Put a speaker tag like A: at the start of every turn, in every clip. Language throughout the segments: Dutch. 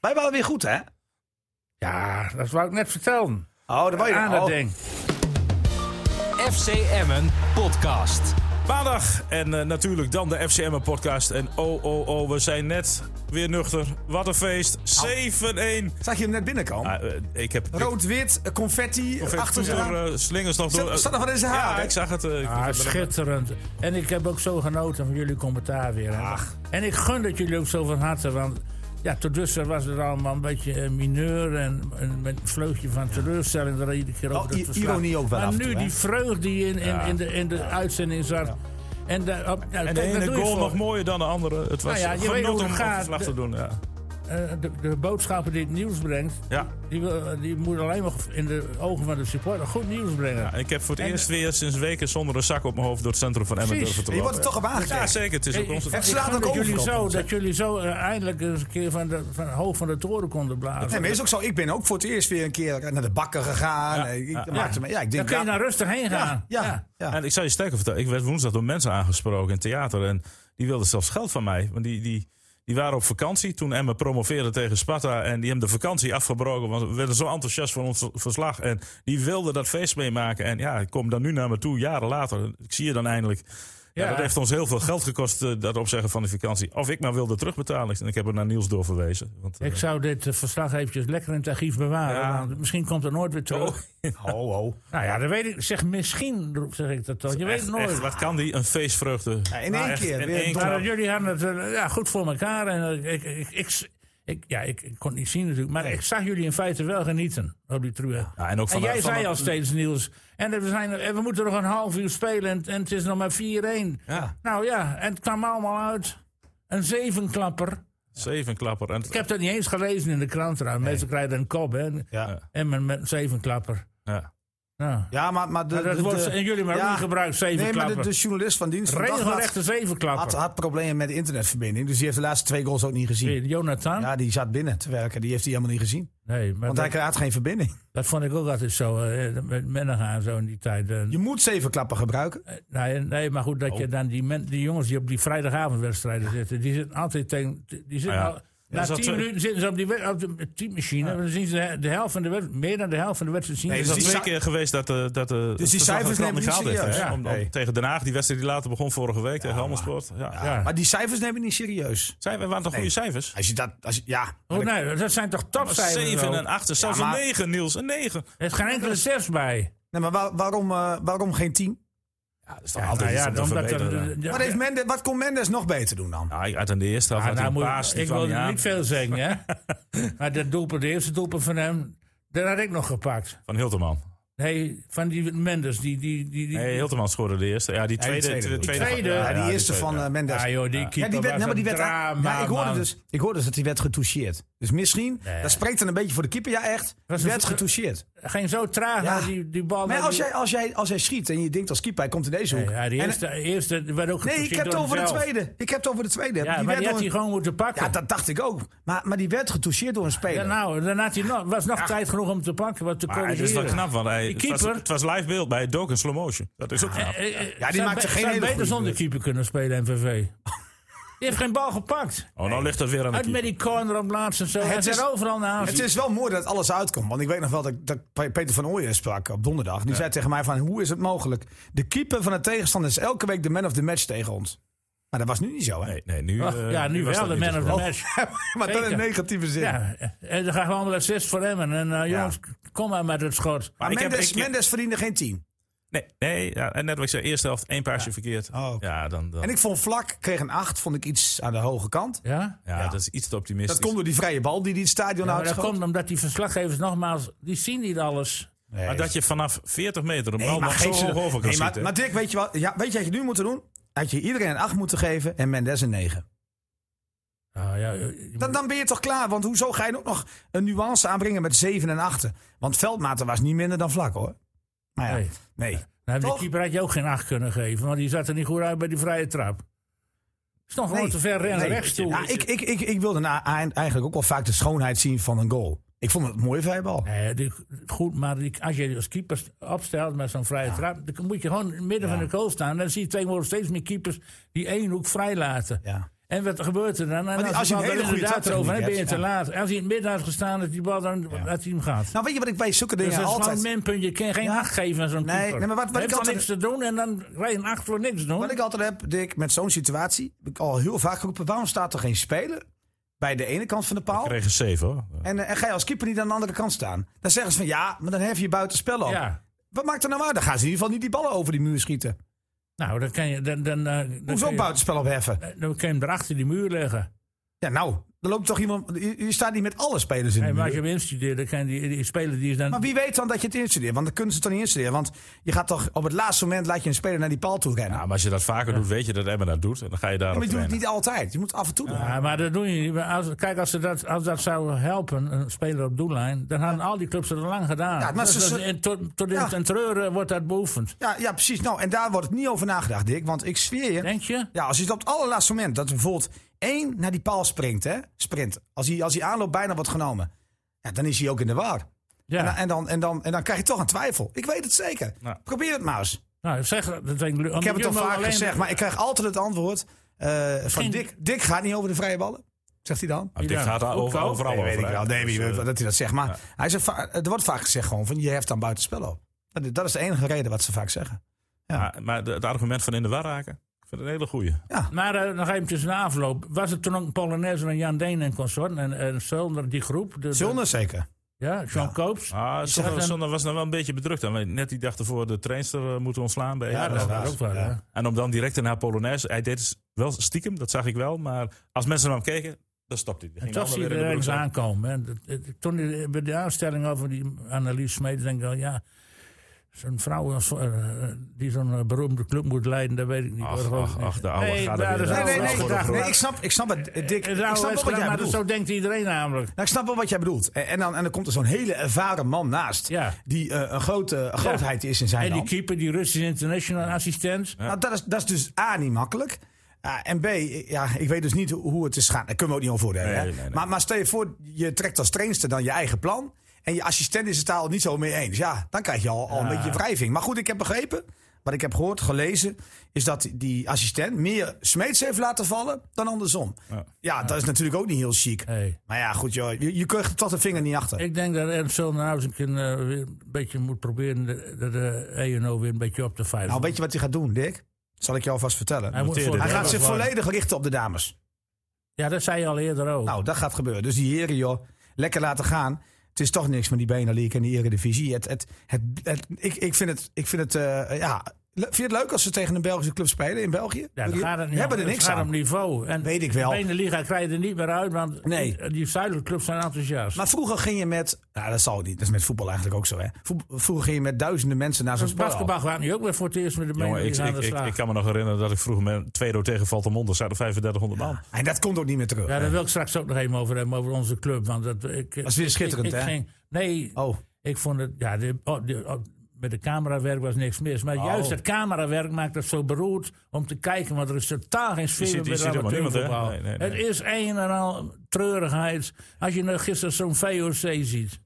A: Wij waren weer goed, hè?
B: Ja, dat wou ik net vertellen.
A: Oh, dat wou je
B: Aan
A: oh.
B: dat ding.
C: FC Emmen podcast.
D: Maandag en eh, natuurlijk dan de FCM podcast. En oh, oh, oh, we zijn net weer nuchter. Wat een feest. 7-1.
A: Zag je hem net binnenkomen?
D: Ah, eh, ik heb
A: Rood-wit, eh, confetti,
D: ik heb
A: achter
D: toen
A: zijn
D: door, eh, slingers nog
A: Zat-
D: door.
A: zat nog wat in zijn haar,
D: Ja,
A: hè?
D: ik zag het. eh, ik-
B: Ah, schitterend. En ik heb ook zo genoten van jullie commentaar weer. hè. En ik gun dat jullie ook zo van harte. Want ja, tot dusver was het allemaal een beetje eh, mineur. En, en met een vleugje van teleurstelling er iedere keer over.
A: Oh, i-
B: het verslag.
A: ironie ook wel
B: Maar
A: af en
B: nu
A: toe, hè?
B: die vreugde die in, in, in de, in de uitzending zat. En, de, op, nou,
D: en de
B: kijk, daar
D: ene
B: doe je
D: goal
B: voor.
D: nog mooier dan de andere. Het
B: Nou
D: was
B: ja, je weet
D: genoten
B: hoe
D: om
B: het
D: om
B: gaat.
D: verslag te
B: De-
D: doen. Ja.
B: Eh, de, de boodschappen die het nieuws brengt,
D: Ja.
B: die, wil- die moet alleen maar in de ogen van de supporter goed nieuws brengen.
D: Ja, ik heb voor het eerst weer sinds weken zonder een zak op mijn hoofd door het centrum van Emmen
B: Precies.
D: durven te
A: En je wordt
D: lopen.
A: er toch op aangekeken.
D: Ja, zeker. Het is ook
B: Ik-
D: onze
B: ik-
A: Het slaat
B: ik vond
A: ook
B: dat
A: over
B: jullie
A: op
B: zo,
A: ons,
B: dat jullie zo eh, eindelijk eens een keer van, de, van hoog van de toren konden blazen.
A: Nee, maar is ook zo. Ik ben ook voor het eerst weer een keer naar de bakker gegaan. Eh, ik, dat maakte me, ja, ik
B: Dan
A: denk
B: kun je
A: ja,
B: naar rustig heen gaan.
A: ja, ja,
D: En ik zou je sterker vertellen, ik werd woensdag door mensen aangesproken in theater. En die wilden zelfs geld van mij. Want die, die, die waren op vakantie toen Emmen promoveerde tegen Sparta. En die hebben de vakantie afgebroken, want we werden zo enthousiast van ons verslag. En die wilden dat feest meemaken. En ja, ik kom dan nu naar me toe, jaren later. Ik zie je dan eindelijk. Ja,
B: Ja.
D: dat heeft ons heel veel geld gekost, eh, dat opzeggen van de vakantie. Of ik maar wilde terugbetalen. En ik heb er naar Niels doorverwezen. Want, eh,
B: Ik zou dit eh, verslag eventjes lekker in het archief bewaren.
D: Ja. Oh.
B: Want misschien komt het nooit weer terug.
A: Ho, ho.
B: Nou ja, dat weet ik. Zeg misschien, zeg ik dat toch. Je weet
D: echt,
B: het nooit.
D: echt, wat kan die? Een feestvreugde.
A: Ja, in één
D: Nou, echt,
A: keer,
D: In
A: weer
D: één
A: door-
B: Maar
D: klap.
B: dat jullie hadden het eh, ja, goed voor elkaar. En eh, ik, ik, ik, ik- ja, ik, ik kon het niet zien natuurlijk. Maar ik zag jullie in feite wel genieten op die true.
D: Ja, en ook van de-
B: jij
D: van
B: zei
D: de-
B: al steeds, Niels. En we, zijn, en we moeten nog een half uur spelen. En, en het is nog maar 4-1.
D: Ja.
B: Nou ja, en het kwam allemaal uit. Een zevenklapper.
D: Zevenklapper. En,
B: Ik heb dat niet eens gelezen in de krant trouwens. Mensen krijgen een kop, hè.
A: Ja.
B: En met, met een zevenklapper.
D: ja.
B: Nou.
A: Ja, maar, maar de,
B: Maar dat
A: de-
B: wordt
A: de-
B: in jullie maar ook niet gebruikt,
A: Nee, maar dus-
B: zevenklapper.
A: de, de journalist van dienst van Dagblad
B: Regelrechte
A: had,
B: zevenklapper.
A: had problemen met de internetverbinding. Dus die heeft de laatste twee goals ook niet gezien.
B: Jonathan?
A: Ja, die zat binnen te werken. Die heeft hij helemaal niet gezien.
B: nee, maar
A: Want
B: dat-
A: hij had geen verbinding.
B: Dat vond ik ook altijd zo, eh, met Menega en zo in die tijd. eh,
A: Je moet zeven klappen gebruiken.
B: nee, nee, maar goed, dat
D: Oh.
B: je dan die, men, die jongens die op die vrijdagavondwedstrijden zitten, die zitten altijd tegen... Die zitten
D: Ah, ja.
B: al, na
D: is dat
B: tien
D: zo-
B: minuten zitten ze op die, wed- op de teammachine. en Dan zien ze de, de helft van de wedstrijd, meer dan de helft van de wedstrijd zien
A: Nee,
B: ze
D: Het is
A: Dus
D: al
A: die
D: twee keer geweest dat, de dat de
A: Dus die
D: het verslag
A: cijfers
D: van
A: nemen
D: Krant
A: niet
D: niet gehaald heeft,
A: serieus.
D: hè? Om- om-
A: Nee.
D: Tegen Den Haag, die wedstrijd die later begon vorige week tegen Helmersport. Ja.
B: Ja.
A: Maar die cijfers nemen we niet serieus.
D: Zijn, waren toch goede cijfers?
A: Als je dat... Als je, ja.
B: Oh, nee, dat zijn toch topcijfers?
D: 7 en
B: ook?
D: 8, zelfs
A: Ja, maar-
D: een 9, Niels. Een 9.
B: Er is geen enkele zes bij.
A: Nee, maar waar- waarom, eh, waarom geen tien?
D: dat is toch
B: Nou ja,
D: te
B: omdat er-
D: verbeteren, hè?
B: ja,
A: Wat, heeft Mendes, wat kon Mendes nog beter doen dan?
D: Ja, uit aan de eerste helft
B: Ah,
D: had hij
B: nou,
D: een
B: moet,
D: paas, die
B: ik
D: kwam
B: wil
D: niet aan.
B: niet veel zeggen, hè. maar dat doelpunt, de eerste doelpunt van hem, dat had ik nog gepakt.
D: Van Hilterman.
B: Nee, van die Mendes, die... die, die, die
D: Nee, Hilterman schoorde de eerste. Ja, die tweede.
A: tweede.
D: tweede,
A: Die
B: tweede.
A: Ja,
B: Ja,
A: die eerste
D: tweede,
A: van
D: ja.
A: eh, Mendes.
B: Ah, joh, die keeper
A: Ja, die werd,
B: was
A: nee, maar die
B: een
A: werd,
B: drama,
A: ja, ik hoorde
B: man.
A: dus, ik hoorde dus dat hij werd getoucheerd. Dus misschien,
B: Nee.
A: dat spreekt dan een beetje voor de keeper. Ja, echt.
B: Was
A: Hij
B: een
A: werd
B: ver-
A: getoucheerd.
B: Ging zo traag
A: Ja.
B: naar die, die bal.
A: Maar
B: naar
A: als
B: die-
A: jij, als, jij, als jij schiet en je denkt als keeper, hij komt in deze hoek.
B: Nee, ja, die
A: En-
B: eerste, eerste werd ook
A: nee, ik
B: gepasseerd
A: heb het
B: door
A: over de
B: hemzelf.
A: tweede. Ik heb het over de tweede.
B: Ja, maar
A: werd
B: die
A: door
B: had hij
A: een-
B: gewoon moeten pakken.
A: ja, dat dacht ik ook. Maar, maar die werd getoucheerd door een
B: Ja,
A: speler.
B: nou, dan had hij nog, was nog tijd genoeg om te pakken. Wat te
D: Maar het is dus wel
B: corrigeren.
D: knap, want hij,
B: Die
D: het was-
B: keeper-
D: het was live beeld bij Doak in slow motion. Dat is ook knap.
B: Eh, eh,
A: die
B: zou
A: maakte
B: be- zou
A: geen hele
B: beter
A: goede
B: zonder keeper kunnen spelen, MVV. Die heeft geen bal gepakt.
D: Oh, nou ligt dat weer aan de
B: Uit met
D: keeper.
B: die corner op laatst en zo. Het
A: is-
B: is overal naast.
A: Het is wel mooi dat alles uitkomt. Want ik weet nog wel dat, ik- dat Pe- Peter van Ooyen sprak op donderdag. Die zei tegen mij van, hoe is het mogelijk? De keeper van de tegenstander is elke week de man of the match tegen ons. Maar dat was nu niet zo, hè?
D: Nee, nee, nu,
B: Ach,
D: eh,
B: ja, nu
D: was
B: wel
D: dat
B: de
D: niet
B: man
D: het
B: of the
D: geval.
B: match.
A: maar dan in
B: Zeker.
A: negatieve zin.
B: Ja, en dan gaan we allemaal assist voor hem. En eh, jongens, kom maar met het schot.
A: Maar
D: Maar ik heb-
A: Mendes,
D: ik heb-
A: Mendes verdiende geen 10.
D: Nee, nee ja, en net wat ik zei, eerste helft één paasje verkeerd.
A: Oh, oké.
D: Ja, dan, dan,
A: En ik vond Vlak, kreeg een 8, vond ik iets aan de hoge kant.
B: Ja?
D: ja, dat is iets te optimistisch.
A: Dat komt door die vrije bal die die het stadion
B: Ja, maar dat
A: uitschoot.
B: komt omdat die verslaggevers nogmaals, die zien niet alles.
A: Nee.
D: Maar dat je vanaf 40 meter een
A: Nee,
D: bal
A: maar
D: nog zo
A: geef ze-
D: hoog over kan
A: Nee, maar,
D: schieten.
A: maar Dirk, weet je, wat, ja, weet je wat je nu moet doen? Had je iedereen een 8 moeten geven en Mendes een 9.
B: Ah, ja, je-
A: Dan, dan ben je toch klaar? Want hoezo ga je ook nog een nuance aanbrengen met 7 en 8? Want Veldmaten was niet minder dan vlak hoor. Maar ja, nee.
B: Nee. nou, die
A: toch?
B: keeper had je ook geen acht kunnen geven, want die zat er niet goed uit bij die vrije trap. Is nog gewoon
A: Nee.
B: te ver rennen
A: Nee.
B: rechts toe.
A: Ja, ik, ik, ik, ik wilde na, eigenlijk ook wel vaak de schoonheid zien van een goal. Ik vond het een mooie vrijbal.
B: Nee, Eh, die- goed, maar die- als je als keeper opstelt met zo'n vrije trap, dan moet je gewoon in het midden van de goal staan. Dan zie je tegenwoordig steeds meer keepers die één hoek vrij laten.
A: Ja.
B: En wat gebeurt er dan? En
A: die-
B: als,
A: als
B: je
A: je
B: bal
A: een
B: dan
A: hele goede
B: inderdaad
A: traptechniek
B: erover hebt, ben je
A: hebt,
B: te
A: ja.
B: laat. Als hij in het midden had gestaan, had die bal dan had hij hem gehad.
A: Nou, weet je wat ik bij zulke
B: Dus
A: dingen
B: dat is gewoon
A: altijd...
B: een minpunt. Je kan geen
A: Ja.
B: acht geven aan zo'n
A: Nee,
B: keeper.
A: nee, maar wat- wat
B: Hij
A: ik
B: heeft dan
A: altijd-
B: niks te doen en dan wij een acht voor niks doen.
A: Wat ik altijd heb, Dick, met zo'n situatie, heb ik al heel vaak geroepen, waarom staat er geen speler bij de ene kant van de paal?
D: Kregen 7 hoor.
A: En, eh, en ga je als keeper niet aan de andere kant staan? Dan zeggen ze van ja, maar dan hef je buitenspel op.
B: Ja.
A: Wat maakt er nou uit? Dan gaan ze in ieder geval niet die ballen over die muur schieten.
B: Nou, dan kan je... Dan, dan, eh, dan
A: Hoezo
B: kan je-
A: buitenspel opheffen?
B: eh, Dan kan je hem erachter die muur leggen.
A: Ja, nou, er loopt toch iemand. Je, je staat niet met alle spelers in de
B: En
A: muur.
B: als je hem instudeert, dan kan die, die speler die is dan...
A: Maar wie weet dan dat je het instudeert? Want dan kunnen ze het toch niet instuderen. Want je gaat toch op het laatste moment laat je een speler naar die paal toe rennen.
D: Ja, maar als je dat vaker doet, weet je dat Emma dat doet. En dan ga je daar
A: maar je doet het niet altijd. Je moet het af en toe doen.
B: Ja, maar dat doe je niet. Maar Als, kijk, als, ze dat, als dat zou helpen, een speler op doellijn, dan hadden al die clubs dat al lang gedaan.
A: Ja, maar
B: Dus
A: ze-
B: dat- en tot tot in
A: Ja.
B: het en treuren wordt dat beoefend.
A: Ja, ja, precies. Nou, en daar wordt het niet over nagedacht, Dick. Want ik zweer je.
B: Denk je?
A: Ja, als je het op het allerlaatste moment, dat er bijvoorbeeld één naar die paal springt, hè? Sprint. Als hij, als hij aanloopt bijna wordt genomen. Ja, dan is hij ook in de war.
B: Ja.
A: En, dan, Nou, en, dan, en, dan, en dan krijg je toch een twijfel. Ik weet het zeker.
D: Ja.
A: Probeer het maar eens.
B: nou, zeg, dat denk
A: Ik heb het al vaak gezegd, maar ik krijg altijd het antwoord eh, van
B: Misschien-
A: Dick. Dick gaat niet over de vrije ballen, zegt hij dan.
D: Nou, dit
B: Ja.
D: gaat daar
B: Ook
D: over,
B: wel.
D: overal
A: nee,
D: over.
A: weet ik
D: hè.
A: wel. Nee,
D: Dus,
A: wie-
D: eh,
A: dat hij dat zegt. Maar hij zegt, va- er wordt vaak gezegd gewoon van je heft dan buitenspel op. Dat, dat is de enige reden wat ze vaak zeggen.
D: maar- Maar de- het argument van in de war raken, ik vind het een hele goeie.
B: Maar eh, nog eventjes na afloop. Was het toen ook Polonaise en Jan Deen en consort en, en Zolder, die groep? De- de-
A: Zonder zeker.
B: Ja, John
A: Ja.
B: Koops.
D: Ah,
B: zag
D: Zondag
B: een-
D: Zondag was nog wel een beetje bedrukt. aan. Want Net die dag ervoor de trainster eh, moeten ontslaan bij
A: Ja,
D: ja,
A: dat is
B: dat
A: waar.
B: ook wel,
A: Ja.
B: hè.
D: En om dan direct naar Polonaise. Hij deed het wel stiekem, dat zag ik wel. Maar als mensen naar hem keken, dan stopte hij. Dan
B: En
D: ging
B: toch zie je
D: allemaal
B: er
D: weer in de
B: ergens
D: broek zitten.
B: aankomen. En dat- dat- toen die- bij de aanstelling over die Annelies Smeet, denk ik wel, ja. Zo'n vrouw als, eh, die zo'n eh, beroemde club moet leiden, dat weet ik niet.
D: Ach, ach, ach, de oude
B: nee,
D: gaat er
B: daar
D: weer.
B: is
D: Nee,
A: Nee, nee, nee,
B: oude
A: nee,
B: gedachte.
A: nee, ik snap, ik snap het, eh, Dick.
B: Het
A: Ik
B: is een oude
A: snap ook wat
B: wedstrijd,
A: jij
B: maar
A: bedoelt.
B: zo denkt iedereen namelijk.
A: Nou, ik snap wel wat jij bedoelt. En, en, dan, en dan komt er zo'n hele ervaren man naast.
B: Ja.
A: Die eh, een grote een grootheid is in zijn
B: En die
A: land.
B: keeper, die Russische international assistent.
A: Nou, dat, is, dat is dus A, niet makkelijk. Ah, en B, eh, ja, ik weet dus niet hoe hoe het is gaan. Daar kunnen we ook niet over oordelen.
D: Nee,
A: hè?
D: nee, nee.
A: Maar, maar stel je voor, je trekt als trainster dan je eigen plan. En je assistent is het daar al niet zo mee eens. Ja, dan krijg je al, al een beetje wrijving. Maar goed, ik heb begrepen, wat ik heb gehoord, gelezen... is dat die assistent meer smeets heeft laten vallen dan andersom. Ja, dat is natuurlijk ook niet heel chic.
B: Hey.
A: Maar ja, goed, joh, je, je kunt er toch de vinger niet achter.
B: Ik denk dat Ernst Zolder nou eens een keer eh, weer een beetje moet proberen de, de, de ENO weer een beetje op te vijven.
A: Nou, weet je wat hij gaat doen, Dick? Zal ik je alvast vertellen.
B: Hij moet
D: Noteer
B: voor-
D: dit,
A: Hij
D: Ja,
A: gaat
D: dat
A: zich volledig richten op de dames.
B: Ja, dat zei je al eerder ook.
A: Nou, dat gaat gebeuren. Dus die heren, joh, lekker laten gaan. Het is toch niks van die Benelink en die Eredivisie. Het, het, het, het- ik, ik vind het, ik vind het eh, ja... le- Vind je het leuk als ze tegen een Belgische club spelen in België?
B: Ja, dat
A: We
B: gaat het niet
A: hebben er
B: om.
A: niks
B: het gaat
A: aan.
B: om niveau. En
A: Weet ik wel.
B: De ene liga krijg je er niet meer uit, want
A: Nee.
B: die, die zuidelijke clubs zijn enthousiast.
A: Maar vroeger ging je met... Nou, dat zal niet. Dat is met voetbal eigenlijk ook zo, hè. Voet- Vroeger ging je met duizenden mensen naar zo'n
B: Dus
A: spel.
B: Basketbal gaat nu ook weer voor het eerst met de
D: Jongen, ik,
B: mening aan
D: ik,
B: de
D: ik,
B: slag.
D: ik kan me nog herinneren dat ik vroeger met Tweedo tegen Valtemonde zat er 3500 man.
A: En dat komt ook niet meer terug.
B: ja, daar wil ik straks ook nog even over hebben, over onze club. Want dat, ik,
A: is weer schitterend,
B: ik, ik
A: hè?
B: ging- nee,
A: Oh,
B: ik vond het... Ja, de- oh, de- oh, met het camerawerk was niks mis.
D: Oh.
B: Maar juist het camerawerk maakt het zo beroerd om te kijken. Want er is totaal geen sfeer
D: ziet-
B: meer
D: je
B: bij
D: ziet helemaal niemand, hè?
B: amateurvoetbal.
D: Nee, nee, nee.
B: Het is een en al treurigheid. Als je nou gisteren zo'n VOC ziet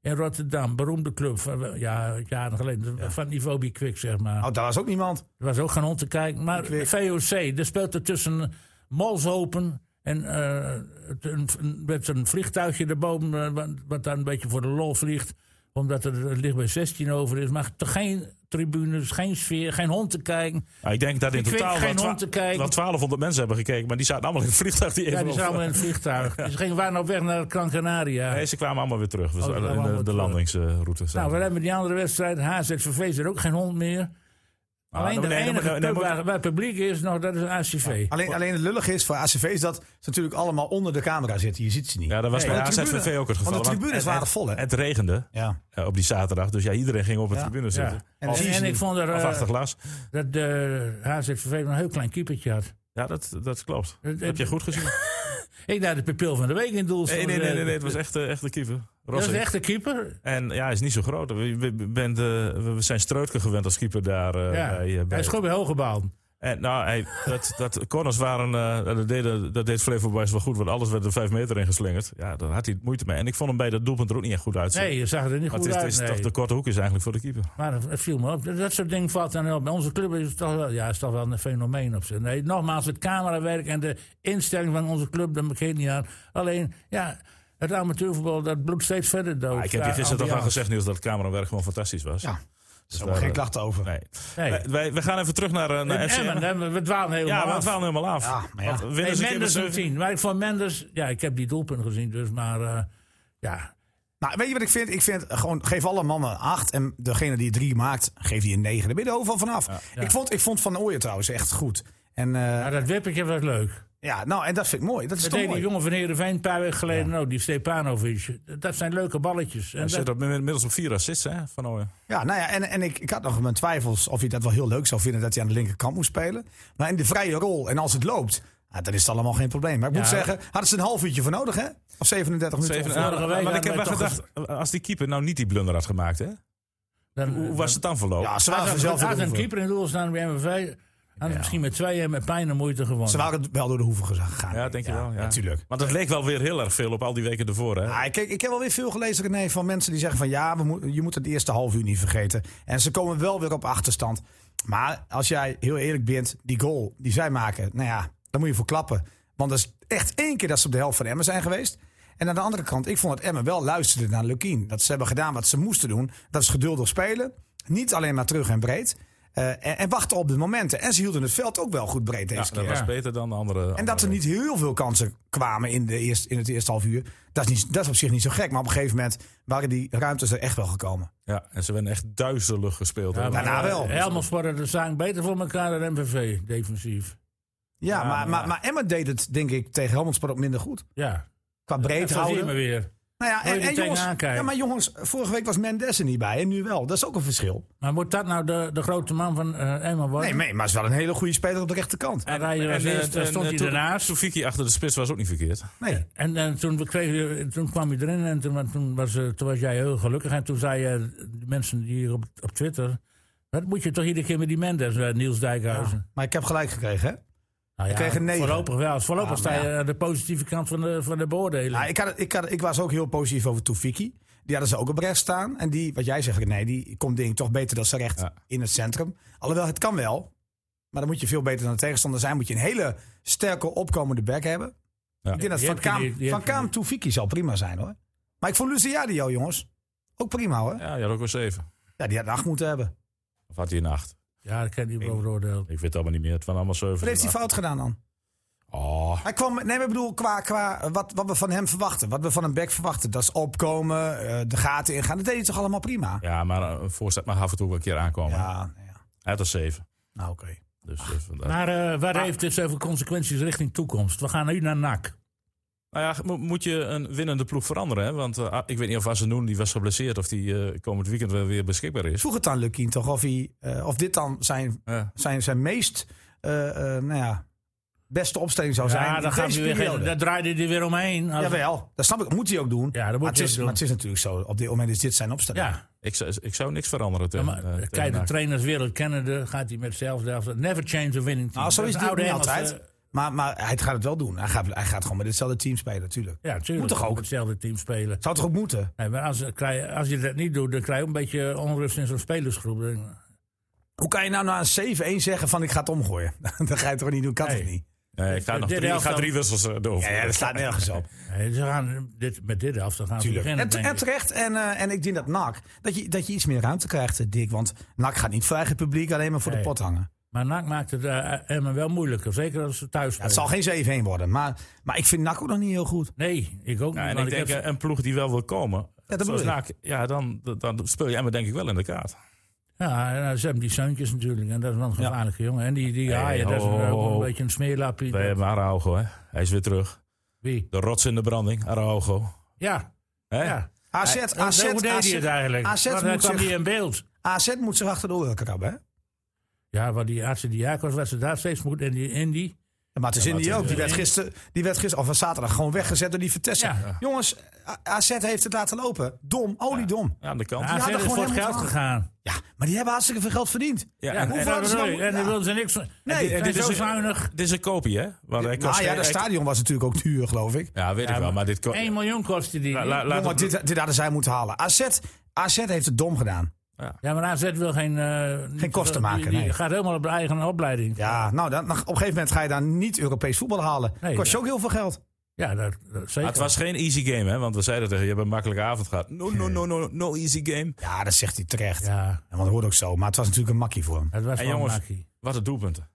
B: in Rotterdam. Beroemde club. Van, ja, jaren geleden. Van het niveau bij Kwik, zeg maar.
A: oh, daar was ook niemand.
B: Er was ook geen hond te kijken. Maar
A: weet-
B: VOC, er speelt er tussen Molshopen en eh, het- een, een- met een vliegtuigje erboven, eh, wat, wat daar een beetje voor de lol vliegt. Omdat er, er ligt bij 16 over is. Maar toch geen tribunes, geen sfeer, geen hond te kijken.
D: Nou, ik denk dat in
B: Ik weet
D: totaal
B: geen
D: wel, twa-
B: hond te kijken.
D: wel 1200 mensen hebben gekeken. Maar die zaten allemaal in het vliegtuig. Die
B: Ja,
D: even
B: die zijn allemaal in het vliegtuig. Dus ze gingen waren op weg naar Gran Canaria.
D: Nee, ze kwamen allemaal weer terug. Dus
B: ze Oh, kwamen
D: in de,
B: allemaal
D: de
B: terug.
D: landingsroute.
B: nou, we hebben die andere wedstrijd. HZVV is er ook geen hond meer. Alleen de enige club waar, waar publiek is, nog, dat is ACV.
A: Alleen, alleen het lullige is voor ACV is dat ze natuurlijk allemaal onder de camera zitten. Je ziet ze niet.
D: Ja, dat was
A: Nee,
D: bij
A: want de
D: AZVV
A: tribune-
D: ook het
A: want
D: geval.
A: de tribunes
D: het-
A: waren
D: het-
A: vol, hè?
D: Het regende
A: ja.
D: eh, op die zaterdag. Dus ja, iedereen ging op de
A: Ja.
D: tribune
B: Ja.
D: zitten.
B: En,
A: Als-
B: en, en ik vond er,
D: Of
B: eh,
D: achter glas.
B: dat de HZVV een heel klein keepertje had.
D: Ja, dat, dat klopt.
B: Het-
D: Heb je goed gezien?
B: Ik dacht de pupil van de week in het doel.
D: Nee,
B: stond,
D: nee, nee,
B: eh,
D: nee, nee, het was echt, eh, echt een keeper.
B: Dat is
D: Rossi.
B: een echte keeper.
D: En ja, hij is niet zo groot. We, we, we- bent, eh, we- we zijn Streutke gewend als keeper daar. eh,
B: Ja.
D: bij, eh, bij-
B: Hij schoot bij hoge baan.
D: En nou, hey, dat, dat corners waren, eh, dat, deed, dat deed Flevoboys wel goed, want alles werd er vijf meter in geslingerd. Ja, daar had hij moeite mee. En ik vond hem bij dat doelpunt er ook niet echt goed uitzien.
B: Nee, je zag er niet
D: maar
B: goed
D: het is,
B: uit.
D: het is
B: nee.
D: toch de korte hoek is eigenlijk voor de keeper.
B: Maar dat- dat viel me op. Dat, dat soort dingen valt dan heel op. Bij onze club is het toch wel, ja, is toch wel een fenomeen op zich. Nee, nogmaals, het camerawerk en de instelling van onze club, daar begint niet aan. Alleen, ja, het amateurvoetbal, dat bloedt steeds verder dood.
D: Maar Ah, ik heb je
B: Ja,
D: gisteren toch
B: eh,
D: al
B: ambiance.
D: gezegd, Niels, dat het camerawerk gewoon fantastisch was.
A: Ja,
D: dus
A: Daar
B: eh,
A: geen klachten over.
D: Nee.
B: Nee.
D: Wij- Wij, we gaan even terug naar, eh, naar
B: En
D: FC
B: Emmen,
D: Emmen.
B: hè, we- we dwalen helemaal
D: Ja,
B: af.
D: want we waren helemaal af.
A: Ja, maar ja.
D: Want winnen
B: Nee,
D: ze een keer met
B: Mendes een
D: zeven-
B: 10. Maar ik vond Mendes, ja, ik heb die doelpunten gezien, dus maar eh, ja.
A: Nou, weet je wat ik vind? Ik vind gewoon, geef alle mannen een 8. En degene die drie maakt, geef die een 9. Daar ben je er overal vanaf. Ik, vond, ik vond Van Ooyen trouwens echt goed. En eh,
B: Maar Nou, dat wippertje was leuk.
A: ja, nou, en dat vind ik mooi. Dat is
B: Dat
A: toch
B: deed die
A: mooi.
B: jongen van Heerenveen een paar weken geleden ook, die Stepanovic. Dat zijn leuke balletjes. En
D: Hij zit
B: dat,
D: op, inmiddels op vier assists, hè, Van Ooyen.
A: Ja, nou ja, en, en ik, ik had nog mijn twijfels of hij dat wel heel leuk zou vinden dat hij aan de linkerkant moest spelen. Maar in de vrije rol en als het loopt, ah, dan is het allemaal geen probleem. Maar ik moet
B: Ja.
A: zeggen, hadden ze een half uurtje voor nodig, hè? Of 37 minuten?
D: Zeven,
A: Of-
B: vorige
D: ja,
B: week
D: maar ik
B: hadden
D: heb wel
B: wij toch
D: gedacht, als die keeper nou niet die blunder had gemaakt, hè?
B: dan,
D: Hoe was het dan
A: Mm-hmm. ja,
D: verlopen?
A: ze
B: Als
A: waren
B: een,
A: vanzelf door
B: had
A: de
B: een
A: hoeven.
B: keeper in doel staan bij MVV, had het misschien met tweeën met pijn en moeite gewonnen.
A: Ze waren wel door de hoeven gegaan.
D: Ja, denk je wel. Ja.
A: Natuurlijk.
D: Want dat leek wel weer heel erg veel op al die weken ervoor, hè?
A: Ah, kijk, ik heb wel weer veel gelezen René, van mensen die zeggen van ja, we moeten je moet het eerste half uur niet vergeten. En ze komen wel weer op achterstand. Maar als jij heel eerlijk bent, die goal die zij maken, nou ja, daar moet je voor klappen. Want dat is echt één keer dat ze op de helft van Emmen zijn geweest. En aan de andere kant, ik vond dat Emmen wel luisterde naar Lukien. Dat ze hebben gedaan wat ze moesten doen. Dat is geduldig spelen. Niet alleen maar terug en breed. Eh, en, en wachten op de momenten. En ze hielden het veld ook wel goed breed deze
D: Ja,
A: keer.
D: dat was beter dan de andere.
A: En dat
D: andere
A: er niet heel veel kansen kwamen in, de eerst, in het eerste half uur. Dat is, niet, dat is op zich niet zo gek. Maar op een gegeven moment waren die ruimtes er echt wel gekomen.
D: Ja, en ze werden echt duizelig gespeeld.
B: Ja,
D: hoor.
B: maar,
A: Daarna
B: eh,
A: wel.
B: Helmond sporde de zaak beter voor elkaar dan MVV, defensief.
A: Ja, maar,
D: ja.
A: Maar, maar Emma deed het, denk ik, tegen Helmond Sport ook minder goed.
B: Ja,
A: Qua breed
B: dat zie je
A: houden.
B: me weer.
A: Nou ja,
B: Hoe je
A: en,
B: er
A: en jongens,
B: tegenaan kijkt.
A: ja, maar jongens, vorige week was Mendes er niet bij en nu wel. Dat is ook een verschil.
B: Maar moet dat nou de, de grote man van eh Emma worden?
A: Nee, nee, maar het is wel een hele goede speler op de rechterkant.
B: En hij was
D: eh,
B: eerst, eh, stond hij
D: toen-
B: ernaast.
D: Soufiki achter de spits was ook niet verkeerd.
A: Nee.
B: En, en toen, we kregen, toen kwam hij erin en toen, toen, was, eh, toen was jij heel gelukkig. En toen zei je, de mensen hier op, op Twitter... Wat moet je toch iedere keer met die Mendes, eh, Niels Dijkhuizen?
A: Maar ik heb gelijk gekregen, hè?
B: Nou ja,
A: kreeg een negen. Ah, nou
B: Voorlopig wel. Voorlopig
A: Ja,
B: sta
A: maar
B: je aan de positieve kant van de, van de beoordeling.
A: Nou, ik, had, het- ik, had, het- ik was ook heel positief over Toefiki. Die hadden ze ook op rechts staan. En die, wat jij zegt, nee, die komt denk ik toch beter dan ze recht
D: Ja.
A: in het centrum. Alhoewel, het kan wel. Maar dan moet je veel beter dan de tegenstander zijn. Moet je een hele sterke opkomende back hebben.
D: Ja.
A: Ik denk dat
B: Die
A: Van
B: heb je
A: Kaam,
B: niet, die
A: van
B: heb je
A: Kaam
B: niet.
A: Toefiki zal prima zijn hoor. Maar ik vond Luciadio, jongens, ook prima hoor.
D: Ja, je had ook wel zeven.
A: Ja, die had een acht moeten hebben.
D: Of had hij een acht?
B: ja, dat kan niet over oordeel.
D: Ik weet het allemaal niet meer. Het waren allemaal zeven.
A: Wat heeft hij fout gedaan dan?
D: Oh,
A: Hij kwam, nee, maar ik bedoel, qua, qua eh, wat, wat we van hem verwachten. Wat we van een back verwachten. Dat is opkomen, eh, de gaten ingaan. Dat deed hij toch allemaal prima?
D: ja, maar een voorzet mag af en toe wel een keer aankomen.
A: Ja, ja.
D: Hij had er zeven.
A: nou oké.
D: Dus, eh, vandaar.
B: Maar eh, waar heeft dit zoveel consequenties richting toekomst? We gaan nu naar NAC.
D: Nou ja, mo- moet je een winnende ploeg veranderen? Hè? Want eh, ah, ik weet niet of Asenoen, die was geblesseerd, of die eh, komend weekend wel weer beschikbaar is.
A: Dus vroeg het aan Lukien toch of, hij, eh, of dit dan zijn,
D: Ja.
A: zijn, zijn meest eh, eh, nou ja, beste opstelling zou zijn.
B: Ja,
A: in
B: daar, gaan
A: deze
B: we weer,
A: periode.
B: geen- daar draaide hij weer omheen. Als-
A: Jawel, dat snap ik. Moet hij ook doen.
B: Ja, dat moet
A: maar, het
B: hij
A: is,
B: ook doen.
A: maar het is natuurlijk zo. Op dit moment is dit zijn opstelling.
B: ja.
D: Ik, zou- ik zou niks veranderen
B: Ja,
D: tegen,
B: maar,
D: eh, tegen
B: kijk, de
D: NAC.
B: trainerswereld kennende gaat hij met zelfs Never change a winning team.
A: Nou, zo
B: Dat eh,
A: is
B: een
A: het ook
B: oude
A: niet
B: Engelse-
A: altijd. Maar, maar hij gaat het wel doen. Hij gaat, hij gaat gewoon met hetzelfde team spelen, natuurlijk.
B: Ja, natuurlijk.
A: Moet toch ook?
B: hetzelfde team spelen.
A: Zou toch ook moeten?
B: Nee, maar als, krijg- als je dat niet doet, dan krijg je een beetje onrust in zo'n spelersgroep. Dan-
A: Hoe kan je nou na een 7-1 zeggen van ik ga het omgooien? dat ga je toch niet doen? Kan
B: Nee.
A: toch niet?
D: Nee, ik ga,
B: de
D: nog
B: derde
D: drie, ik
B: helft
D: ga
B: dan-
D: drie wissels eh, door.
A: Ja, ja, dat slaat nergens op.
B: Nee, ze gaan dit, met dit af, dan gaan
A: Tuurlijk.
B: ze
A: En,
B: beginnen.
A: te-
B: denk
A: en
B: ik.
A: terecht. En, eh, en ik denk dat NAC, dat je, dat je iets meer ruimte krijgt, eh, Dick. Want NAC gaat niet voor eigen publiek, alleen maar voor
B: Nee.
A: de pot hangen.
B: Maar NAC maakt het eh, Emmen wel moeilijker. Zeker als ze thuis
A: Ja,
B: spelen.
A: het zal geen 7-1 worden. Maar, maar ik vind NAC ook nog niet heel goed.
B: Nee, ik ook
D: Ja,
B: niet.
D: en
B: want
D: ik denk,
B: heb-
D: eh, een ploeg die wel wil komen,
A: dat
D: zoals
A: bedoel
D: NAC, ja, dan, dan- dan speel je Emmen denk ik wel in de kaart.
B: Ja, en dan zijn die zoontjes natuurlijk. En dat is wel een gevaarlijke jongen. En die, die
D: Hey,
B: haaien, dat is
D: ho,
B: een,
D: ho,
B: ook
D: ho.
B: een beetje een smeerlapje.
D: Wij hebben eh, Araujo, hè. hij is weer terug.
B: Wie?
D: De rots in de branding, Araujo.
B: Ja,
D: Hè?
B: ja.
A: AZ, AZ,
B: hoe deed hij
A: AZ,
B: het eigenlijk?
A: AZ
B: Want hij
A: moet
B: kwam
A: zich-
B: hier in beeld.
A: AZ moet zich achter de oren krabben. hè?
B: Ja, want die Arce Diakos was het daar steeds moet. En die Indy.
A: Maar het is in die ook. Die werd gisteren, die werd gisteren of zaterdag gewoon weggezet door die Vitesse.
B: Ja.
A: Jongens, A- AZ heeft het laten lopen. Dom, oliedom.
D: Aan de kant.
B: Ja,
A: hadden
B: AZ is
A: gewoon
B: voor het
A: helemaal
B: geld gegaan.
A: Ja, maar die hebben hartstikke veel geld verdiend.
B: Ja,
D: Ja, en-
B: en,
A: hoeveel
B: daar
A: hadden ze
B: bedoel ik.
A: dan-
B: en die
A: ja.
B: wilden ze niks van.
A: Nee,
B: Nee,
A: en
B: dit
D: dit
B: is zo
D: is- Oh,
B: zuinig.
D: Dit is een kopie, hè? Want hij kost
A: Nou ja,
D: geen-
A: dat stadion was natuurlijk ook duur, geloof ik.
D: Ja, weet ik wel. Maar dit... ko-
B: 1 miljoen kostte die.
D: La- la- laat
A: Jongen,
D: het-
A: dit, dit hadden zij moeten halen. AZ, AZ heeft het dom gedaan.
B: ja, maar AZ wil geen... eh, niet-
A: kosten
B: die-
A: maken,
B: Die
A: nee.
B: gaat helemaal op de eigen opleiding.
A: Ja, nou, dan, op een gegeven moment ga je daar niet Europees voetbal halen.
B: Nee,
A: Kost je
B: dat-
A: ook heel veel geld.
B: Ja, dat, dat
D: Maar
B: zeker.
D: het was geen easy game, hè? Want we zeiden tegen je, je hebt een makkelijke avond gehad. No, no, no, no, no easy game.
A: Ja, dat zegt hij terecht.
B: Ja,
A: En Want dat hoort ook zo. Maar het was natuurlijk een makkie voor hem.
B: het was
D: En
B: wel
D: jongens-
B: een makkie.
D: Wat een doelpunten.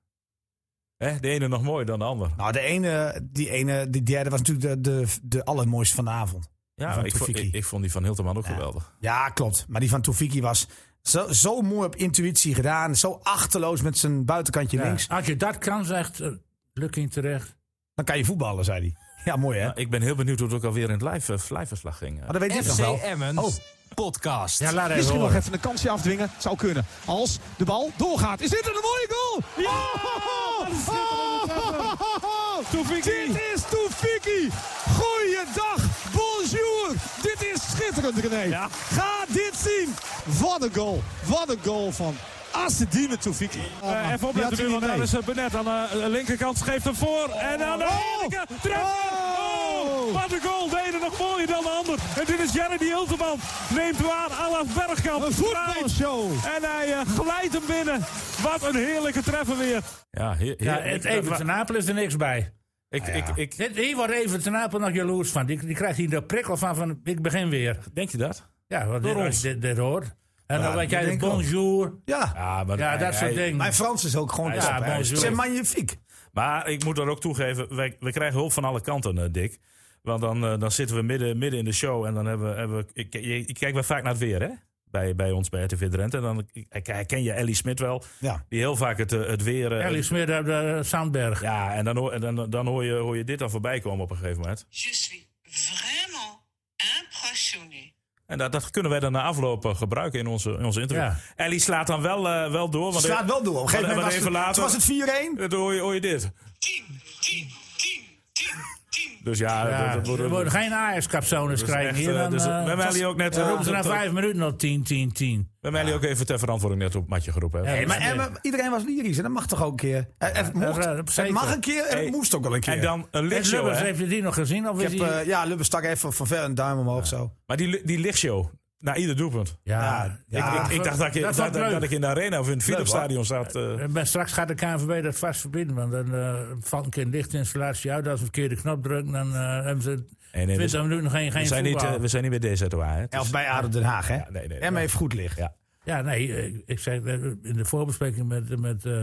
D: Hè? De ene nog mooier dan de ander.
A: Nou, de ene, die ene, die derde was natuurlijk de, de, de allermooiste van de avond.
D: Ja,
A: van
D: ik, vond,
A: Tofiki.
D: ik, ik vond die van Hilterman ook geweldig.
A: Ja, klopt. Maar die van Toefiki was zo, zo mooi op intuïtie gedaan. Zo achterloos met zijn buitenkantje
B: Ja.
A: links.
B: Als je dat kan, zegt eh, Lukking terecht.
A: Dan kan je voetballen, zei hij. Ja, mooi hè?
D: Nou, ik ben heel benieuwd hoe het ook alweer in het live, eh, liveverslag ging. eh.
A: Maar dat weet ik nog
C: FC
A: wel.
C: Emmen
A: Oh.
C: podcast.
B: Ja, laat even
E: Misschien nog
B: horen.
E: even een kansje afdwingen. Zou kunnen. Als de bal doorgaat. Is dit een mooie goal? Ja! Dit is Toefiki. Goeiedag. Bonjour. Dit is schitterend, René. Ga dit zien. Wat een goal. Wat een goal van Asedine Toefiki.
F: Eh, even op de buurman, daar is eh, Benet aan de eh, linkerkant, geeft hem voor. En aan de
E: Oh.
F: linkerkant, treffer! Oh.
E: Oh.
F: Wat een goal, de ene nog mooier dan de ander. En dit is Jerry Hilteman, neemt waar Alaf Bergkamp.
E: Een voetbalshow.
F: draait. En hij eh, glijdt hem binnen. Wat een heerlijke treffer weer.
D: Ja, heer- heer-
B: Ja, het
D: ik-
B: Even ten Apel is er niks bij.
D: ik, ik, ik,
B: Dit- Hier wordt Even ten Apel nog jaloers van. Die, die krijgt hier de prikkel van, van ik begin weer.
D: denk je dat?
B: Ja, wat dit, als je dit, dit hoort. En dan weet
A: dat
B: jij de
A: denk ik ook.
B: bonjour.
A: Ja.
D: Ja, maar
B: Ja,
D: hij-
B: dat soort
D: hij-
B: dingen.
A: Mijn Frans is ook gewoon
D: Ja,
A: top, hè.
B: bonjour.
A: Ze zijn magnifiek.
D: Maar ik moet dat ook toegeven, wij, we krijgen hulp van alle kanten, eh, Dick. Want dan, eh, dan zitten we midden, midden in de show en dan hebben we... Hebben we ik, je- ik kijk wel vaak naar het weer, hè? Bij, bij ons, bij RTV Drenthe. En dan ik- ik- herken je Ellie Smit wel,
A: Ja.
D: die heel vaak het, eh, het weer... eh,
B: Ellie Smeer uit de Zandberg.
D: ja, en dan, hoor- en dan, dan hoor, je, hoor je dit dan voorbij komen op een gegeven moment.
G: Je suis vraiment impressionnée.
D: En dat, dat kunnen wij dan na afloop eh, gebruiken in onze, in onze interview.
B: Ja.
D: Ellie slaat dan wel, eh, wel door.
A: Het
D: Want
A: slaat wel door. Op een gegeven
D: want-
A: moment was
D: want
A: het,
D: even
A: toen was het 4-1.
D: later, dan hoor je, hoor je dit.
G: 10, 10, 10, 10, 10.
D: Dus ja,
B: Ja,
D: dat- dat wordt-
B: er worden geen Ajax-capsones
D: Dat is
B: krijgen
D: echt,
B: hier.
D: eh,
B: Dan,
D: dus,
B: eh,
D: we hebben Ellie ook net,
B: dan
D: eh,
B: roepen ze na
D: dat-
B: vijf minuten al 10, 10, 10.
D: We hebben jullie ook even ter verantwoording net op het matje geroepen. Hè?
B: Ja,
A: Hey, maar
B: Nee.
A: Emmen, iedereen was lyrisch en dat mag toch ook een keer. Eh, het, mocht,
B: eh,
A: het
B: zeker.
A: mag een keer en
D: Hey,
A: het moest ook wel een keer.
D: En dan een
B: En
D: lichtshow,
B: Lubbers,
D: hè?
B: heeft je die nog gezien? Of
A: ik
B: is
A: heb,
B: die...
A: eh, ja, Lubbers stak even van ver een duim omhoog zo.
D: Maar die, li- die lichtshow, na ieder doelpunt.
B: ja,
A: ja,
D: ik, ik dacht dat
B: dat
D: ik, dat,
B: vond ik
D: dat-
B: leuk.
D: dat ik in de arena of in het Philipsstadion zat. eh.
B: Eh, Maar straks gaat de KNVB dat vast verbieden. Want dan eh, valt een keer een lichtinstallatie uit. Als we een keer de knop drukken, dan eh, hebben ze
D: nee, we
B: 20
D: zijn-
B: minuten nog geen, geen
D: we, zijn niet,
B: voetbal.
D: eh, we zijn niet bij DZOA, hè? Het
A: Ja,
D: is-
A: of bij Aden Den Haag, hè?
D: nee, nee,
A: Emmen
D: dus- ja.
A: heeft goed licht.
D: Ja.
B: Ja, nee, eh, ik zei eh, in de voorbespreking met, met eh,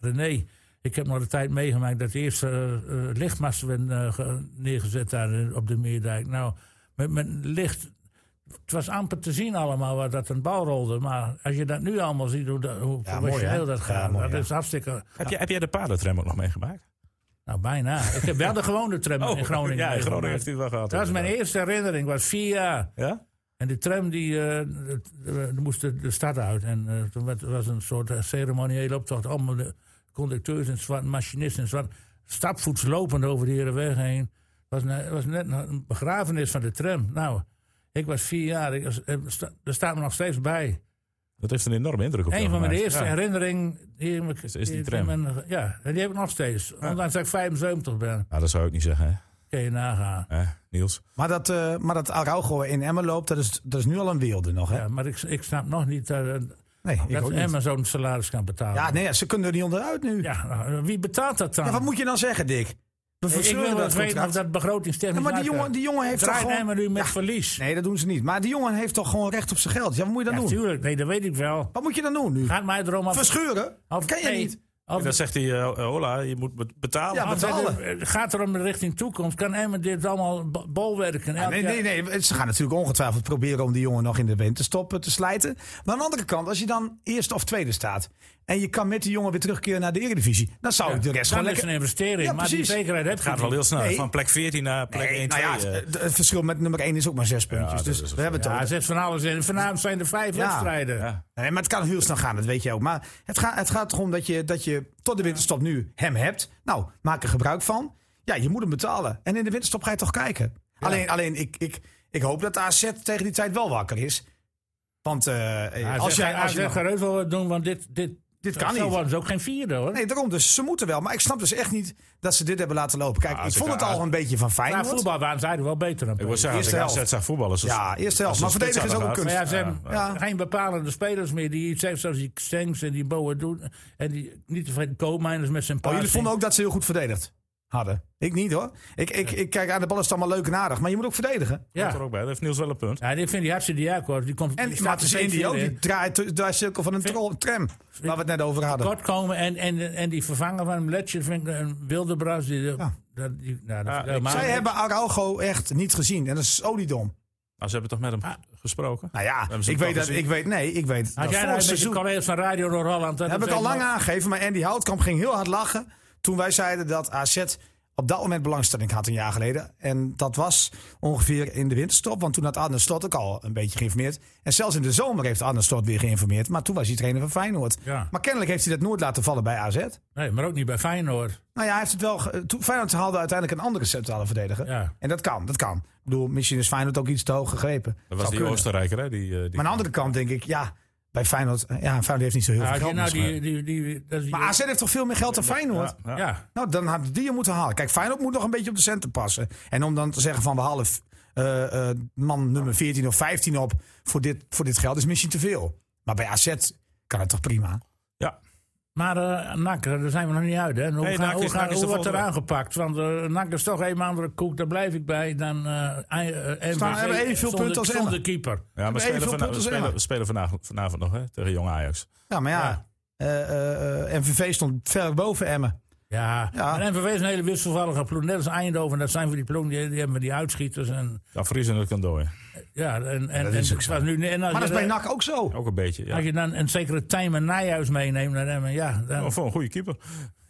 B: René. Ik heb nog de tijd meegemaakt dat de eerste eh, eh, lichtmasten werden eh, ge- neergezet daar in- op de Meerdijk. Nou, met, met licht. Het was amper te zien allemaal wat dat een bal rolde. Maar als je dat nu allemaal ziet, hoe, dat, hoe
A: Ja,
B: professioneel
A: mooi, hè?
B: dat gaat.
A: Ja, mooi,
B: dat
A: ja.
B: is hartstikke.
D: Heb, jij, heb jij de paardentram ook nog meegemaakt? Oh,
B: Nou, bijna. Ik heb wel de gewone tram
A: Oh,
B: in Groningen.
D: Ja, in Groningen
B: meegemaakt.
D: heeft hij het wel gehad.
B: Dat was mijn
D: inderdaad.
B: eerste herinnering, was vier jaar.
D: Ja?
B: En die tram die, eh, dat- eh, die moest de, de stad uit. En eh, toen werd- was een soort eh, ceremoniële optocht. Allemaal de conducteurs en zwart, machinisten en zwart. Stapvoets lopend over de Herenweg heen. Het was, ne- was net nog een begrafenis van de tram. Nou, ik was vier jaar. Ik, was- eh, sta- daar staat me nog steeds bij.
D: Dat heeft een enorme indruk op jou
B: Een van mijn
D: gemaakt.
B: eerste
D: Ja.
B: herinneringen. Die, heb ik-
D: Is- is die
B: in
D: tram.
B: mijn- eh, ja, en die heb ik nog steeds. Ondanks dat ik 75 ben.
D: Nou, dat zou ik niet zeggen, hè?
B: Kun je nagaan.
D: Eh, Niels?
A: Maar dat, eh maar dat Araujo in Emmen loopt, dat is, dat is nu al een weelde nog, hè?
B: Ja, maar ik, ik snap nog niet dat, eh,
A: Nee, ik
B: dat
A: ook niet.
B: Emma zo'n salaris kan betalen.
A: Ja, nee, ze kunnen er niet onderuit nu. Ja.
B: Ja, nou, wie betaalt dat dan?
A: wat moet je dan zeggen, Dick? We
B: ik
A: versleuren
B: wil
A: dat
B: dat weten of
A: contract.
B: dat begrotingstechnisch
A: Ja, maar die
B: uitkomt.
A: jongen, die jongen heeft toch
B: Draait
A: gewoon...
B: Emmen nu met
A: Ja,
B: verlies.
A: Nee, dat doen ze niet. Maar die jongen heeft toch gewoon recht op zijn geld. Ja, wat moet je dan doen?
B: Natuurlijk, nee, dat weet ik wel.
A: Wat moet je dan doen nu?
B: Gaat mij erom af...
A: Verscheuren?
B: of
A: kan je
B: nee,
A: niet.
B: of-
D: Dan zegt hij, eh, hola, je moet bet- betalen.
A: Ja,
B: of-
A: betalen.
B: het gaat erom richting toekomst. Kan Emmen dit allemaal bo- bolwerken? Elk
A: Nee, nee, nee. Ze gaan natuurlijk ongetwijfeld proberen om die jongen nog in de winterstop eh, te slijten. Maar aan de andere kant, als je dan eerste of tweede staat. en je kan met die jongen weer terugkeren naar de Eredivisie. dan zou
B: jaar-
A: ik de rest
B: Dan
A: gewoon
B: is
A: lekker.
B: een investering,
A: Ja,
B: maar die
A: precies.
B: zekerheid heb
D: Het gaat wel heel snel.
A: Nee.
D: Van plek 14 naar plek
A: Nee,
D: 1,
A: nou
D: 2.
A: ja,
D: eh.
A: het, het verschil met nummer 1 is ook maar zes puntjes.
D: dat
A: dus
D: is het
A: we hebben het
B: Ja,
A: over.
B: hij zet van alles in. Vanavond zijn er vijf
A: Ja.
B: wedstrijden.
D: Ja.
A: Nee, maar het kan heel snel gaan, dat weet je ook. Maar het, gaat het gaat erom dat je, dat je je tot de winterstop nu hem hebt. Nou, maak er gebruik van. Ja, je moet hem betalen. En in de winterstop ga je toch kijken. Alleen, alleen ik, ik, ik hoop dat de AZ tegen die tijd wel wakker is. Want eh,
B: AZ,
A: als jij... Als
B: AZ
A: je nog-
B: gaat heus wel wat doen, want dit, dit,
A: Dit kan
B: zo
A: niet.
B: worden ze ook geen vierde hoor.
A: Nee, daarom. Dus ze moeten wel. Maar ik snap dus echt niet dat ze dit hebben laten lopen. Kijk,
D: Ah,
A: ik
D: ze-
A: vond het
D: ah,
A: al een beetje van
B: Na
A: Feyenoord.
B: voetbal waren zij er wel beter dan
D: Ik wil zeggen, als ik
A: Eerste helft.
D: AZ zag voetballen... ze-
A: Ja, eerste helft.
D: als ze
A: Maar
D: een spits
A: verdedigen is ook
D: hadden
A: een
D: gehad.
A: kunst.
B: Maar ja, ze hebben
A: Ja.
B: geen bepalende spelers meer die iets heeft zoals die Stengs en die Boer doen. En die niet tevreden co-miners met zijn
A: Oh,
B: paard.
A: jullie vonden ook dat ze heel goed verdedigd hadden. Ik niet hoor. Ik, ik, ik kijk aan de bal is het allemaal leuk en aardig. Maar je moet ook verdedigen.
D: Ja. Hoort
B: Ja.
D: er ook bij. Dat heeft Niels wel een punt.
B: ja, ik vind die hartstikke diaco. Die komt
A: En
B: die
A: die
B: staat
A: Maarten
B: er steeds
A: Zindio,
B: weer in.
A: die draait daar cirkel van een tro- tram. Waar we het net over hadden.
B: kort komen en, en, en die vervanger van hem, Letje, vind ik een wilde bras. Die, dat, die, nou, dat,
D: Ja,
B: dat- maar-
A: Zij hebben Araujo echt niet gezien. En dat is oliedom.
D: Maar Nou, ze hebben toch met hem gesproken?
A: Nou ja,
D: Hebben ze
A: ik
D: hem
A: weet
D: toch
A: dat.
D: gezien?
A: Ik weet, nee, ik weet.
B: Had jij
A: dat
B: nou
A: vorig
B: een beetje
A: seizoen-
B: collega's van Radio Noord-Holland... dat
A: Dat heb
B: het
A: ik al
B: helemaal-
A: lang aangegeven, maar Andy Houtkamp ging heel hard lachen toen wij zeiden dat AZ op dat moment belangstelling had een jaar geleden. En dat was ongeveer in de winterstop, want toen had Arne Slot ook al een beetje geïnformeerd. En zelfs in de zomer heeft Arne Slot weer geïnformeerd, maar toen was hij trainer van Feyenoord.
B: Ja.
A: Maar kennelijk heeft hij dat nooit laten vallen bij AZ.
B: Nee, maar ook niet bij Feyenoord.
A: Nou ja, hij heeft het wel. ge- Toen, Feyenoord haalde uiteindelijk een andere centrale verdediger.
B: Ja.
A: En dat kan, dat kan. Ik bedoel, misschien is Feyenoord ook iets te hoog gegrepen.
D: Dat was
A: Zou
D: die
A: kunnen.
D: Oostenrijker, hè? Die, eh, die
A: Maar nou- aan de andere kant denk ik, ja, bij Feyenoord, eh, ja, Feyenoord heeft niet zo heel
B: Ja,
A: veel
B: had je
A: geld.
B: nou
A: misschien.
B: die, die, die, dat is die-
A: Maar AZ heeft toch veel meer geld dan Feyenoord?
D: Ja, ja.
B: ja.
A: Nou, dan hadden die je moeten halen. Kijk, Feyenoord moet nog een beetje op de centen passen. En om dan te zeggen van we halen eh, eh, man nummer 14 of 15 op voor dit, voor dit geld is misschien te veel. Maar bij AZ kan het toch prima?
D: Ja.
B: Maar eh NAC, daar zijn we nog niet uit. Hè? En Hoe,
D: Nee,
B: gaan-
D: NAC
B: hoe,
D: is-
B: gaan-
D: NAC is
B: hoe
D: de
B: wordt er
D: volgende.
B: aangepakt? Want eh NAC is toch een andere koek, daar blijf ik bij. Dan eh MVV
A: Staan- hebben even veel
B: zonder-
A: punten als
B: zonder
A: Emmen.
B: keeper.
D: Ja, maar
A: Even
D: spelen
A: veel
D: vana-
A: punten
D: we spelen,
A: zeggen.
D: we spelen vanavond, vanavond nog hè, tegen Jong Ajax.
A: Ja, maar ja. eh, eh, eh, MVV stond ver boven Emmen.
B: Ja,
A: Ja.
B: maar MVV is een hele wisselvallige ploeg. Net als Eindhoven, dat zijn voor die ploeg, die, die hebben die uitschieters. En,
D: Dan vriezen het kantoor.
B: ja, en, en,
A: dat is
B: en,
A: ook zo.
B: was nu, en als
A: Maar
B: je
A: dat is bij
B: dan-
A: NAC ook zo.
D: Ook een beetje. Ja.
A: Nou,
B: Als je dan een zekere Tijmen Nijhuis meeneemt naar Emmen, ja, dan,
D: Maar voor een goede keeper.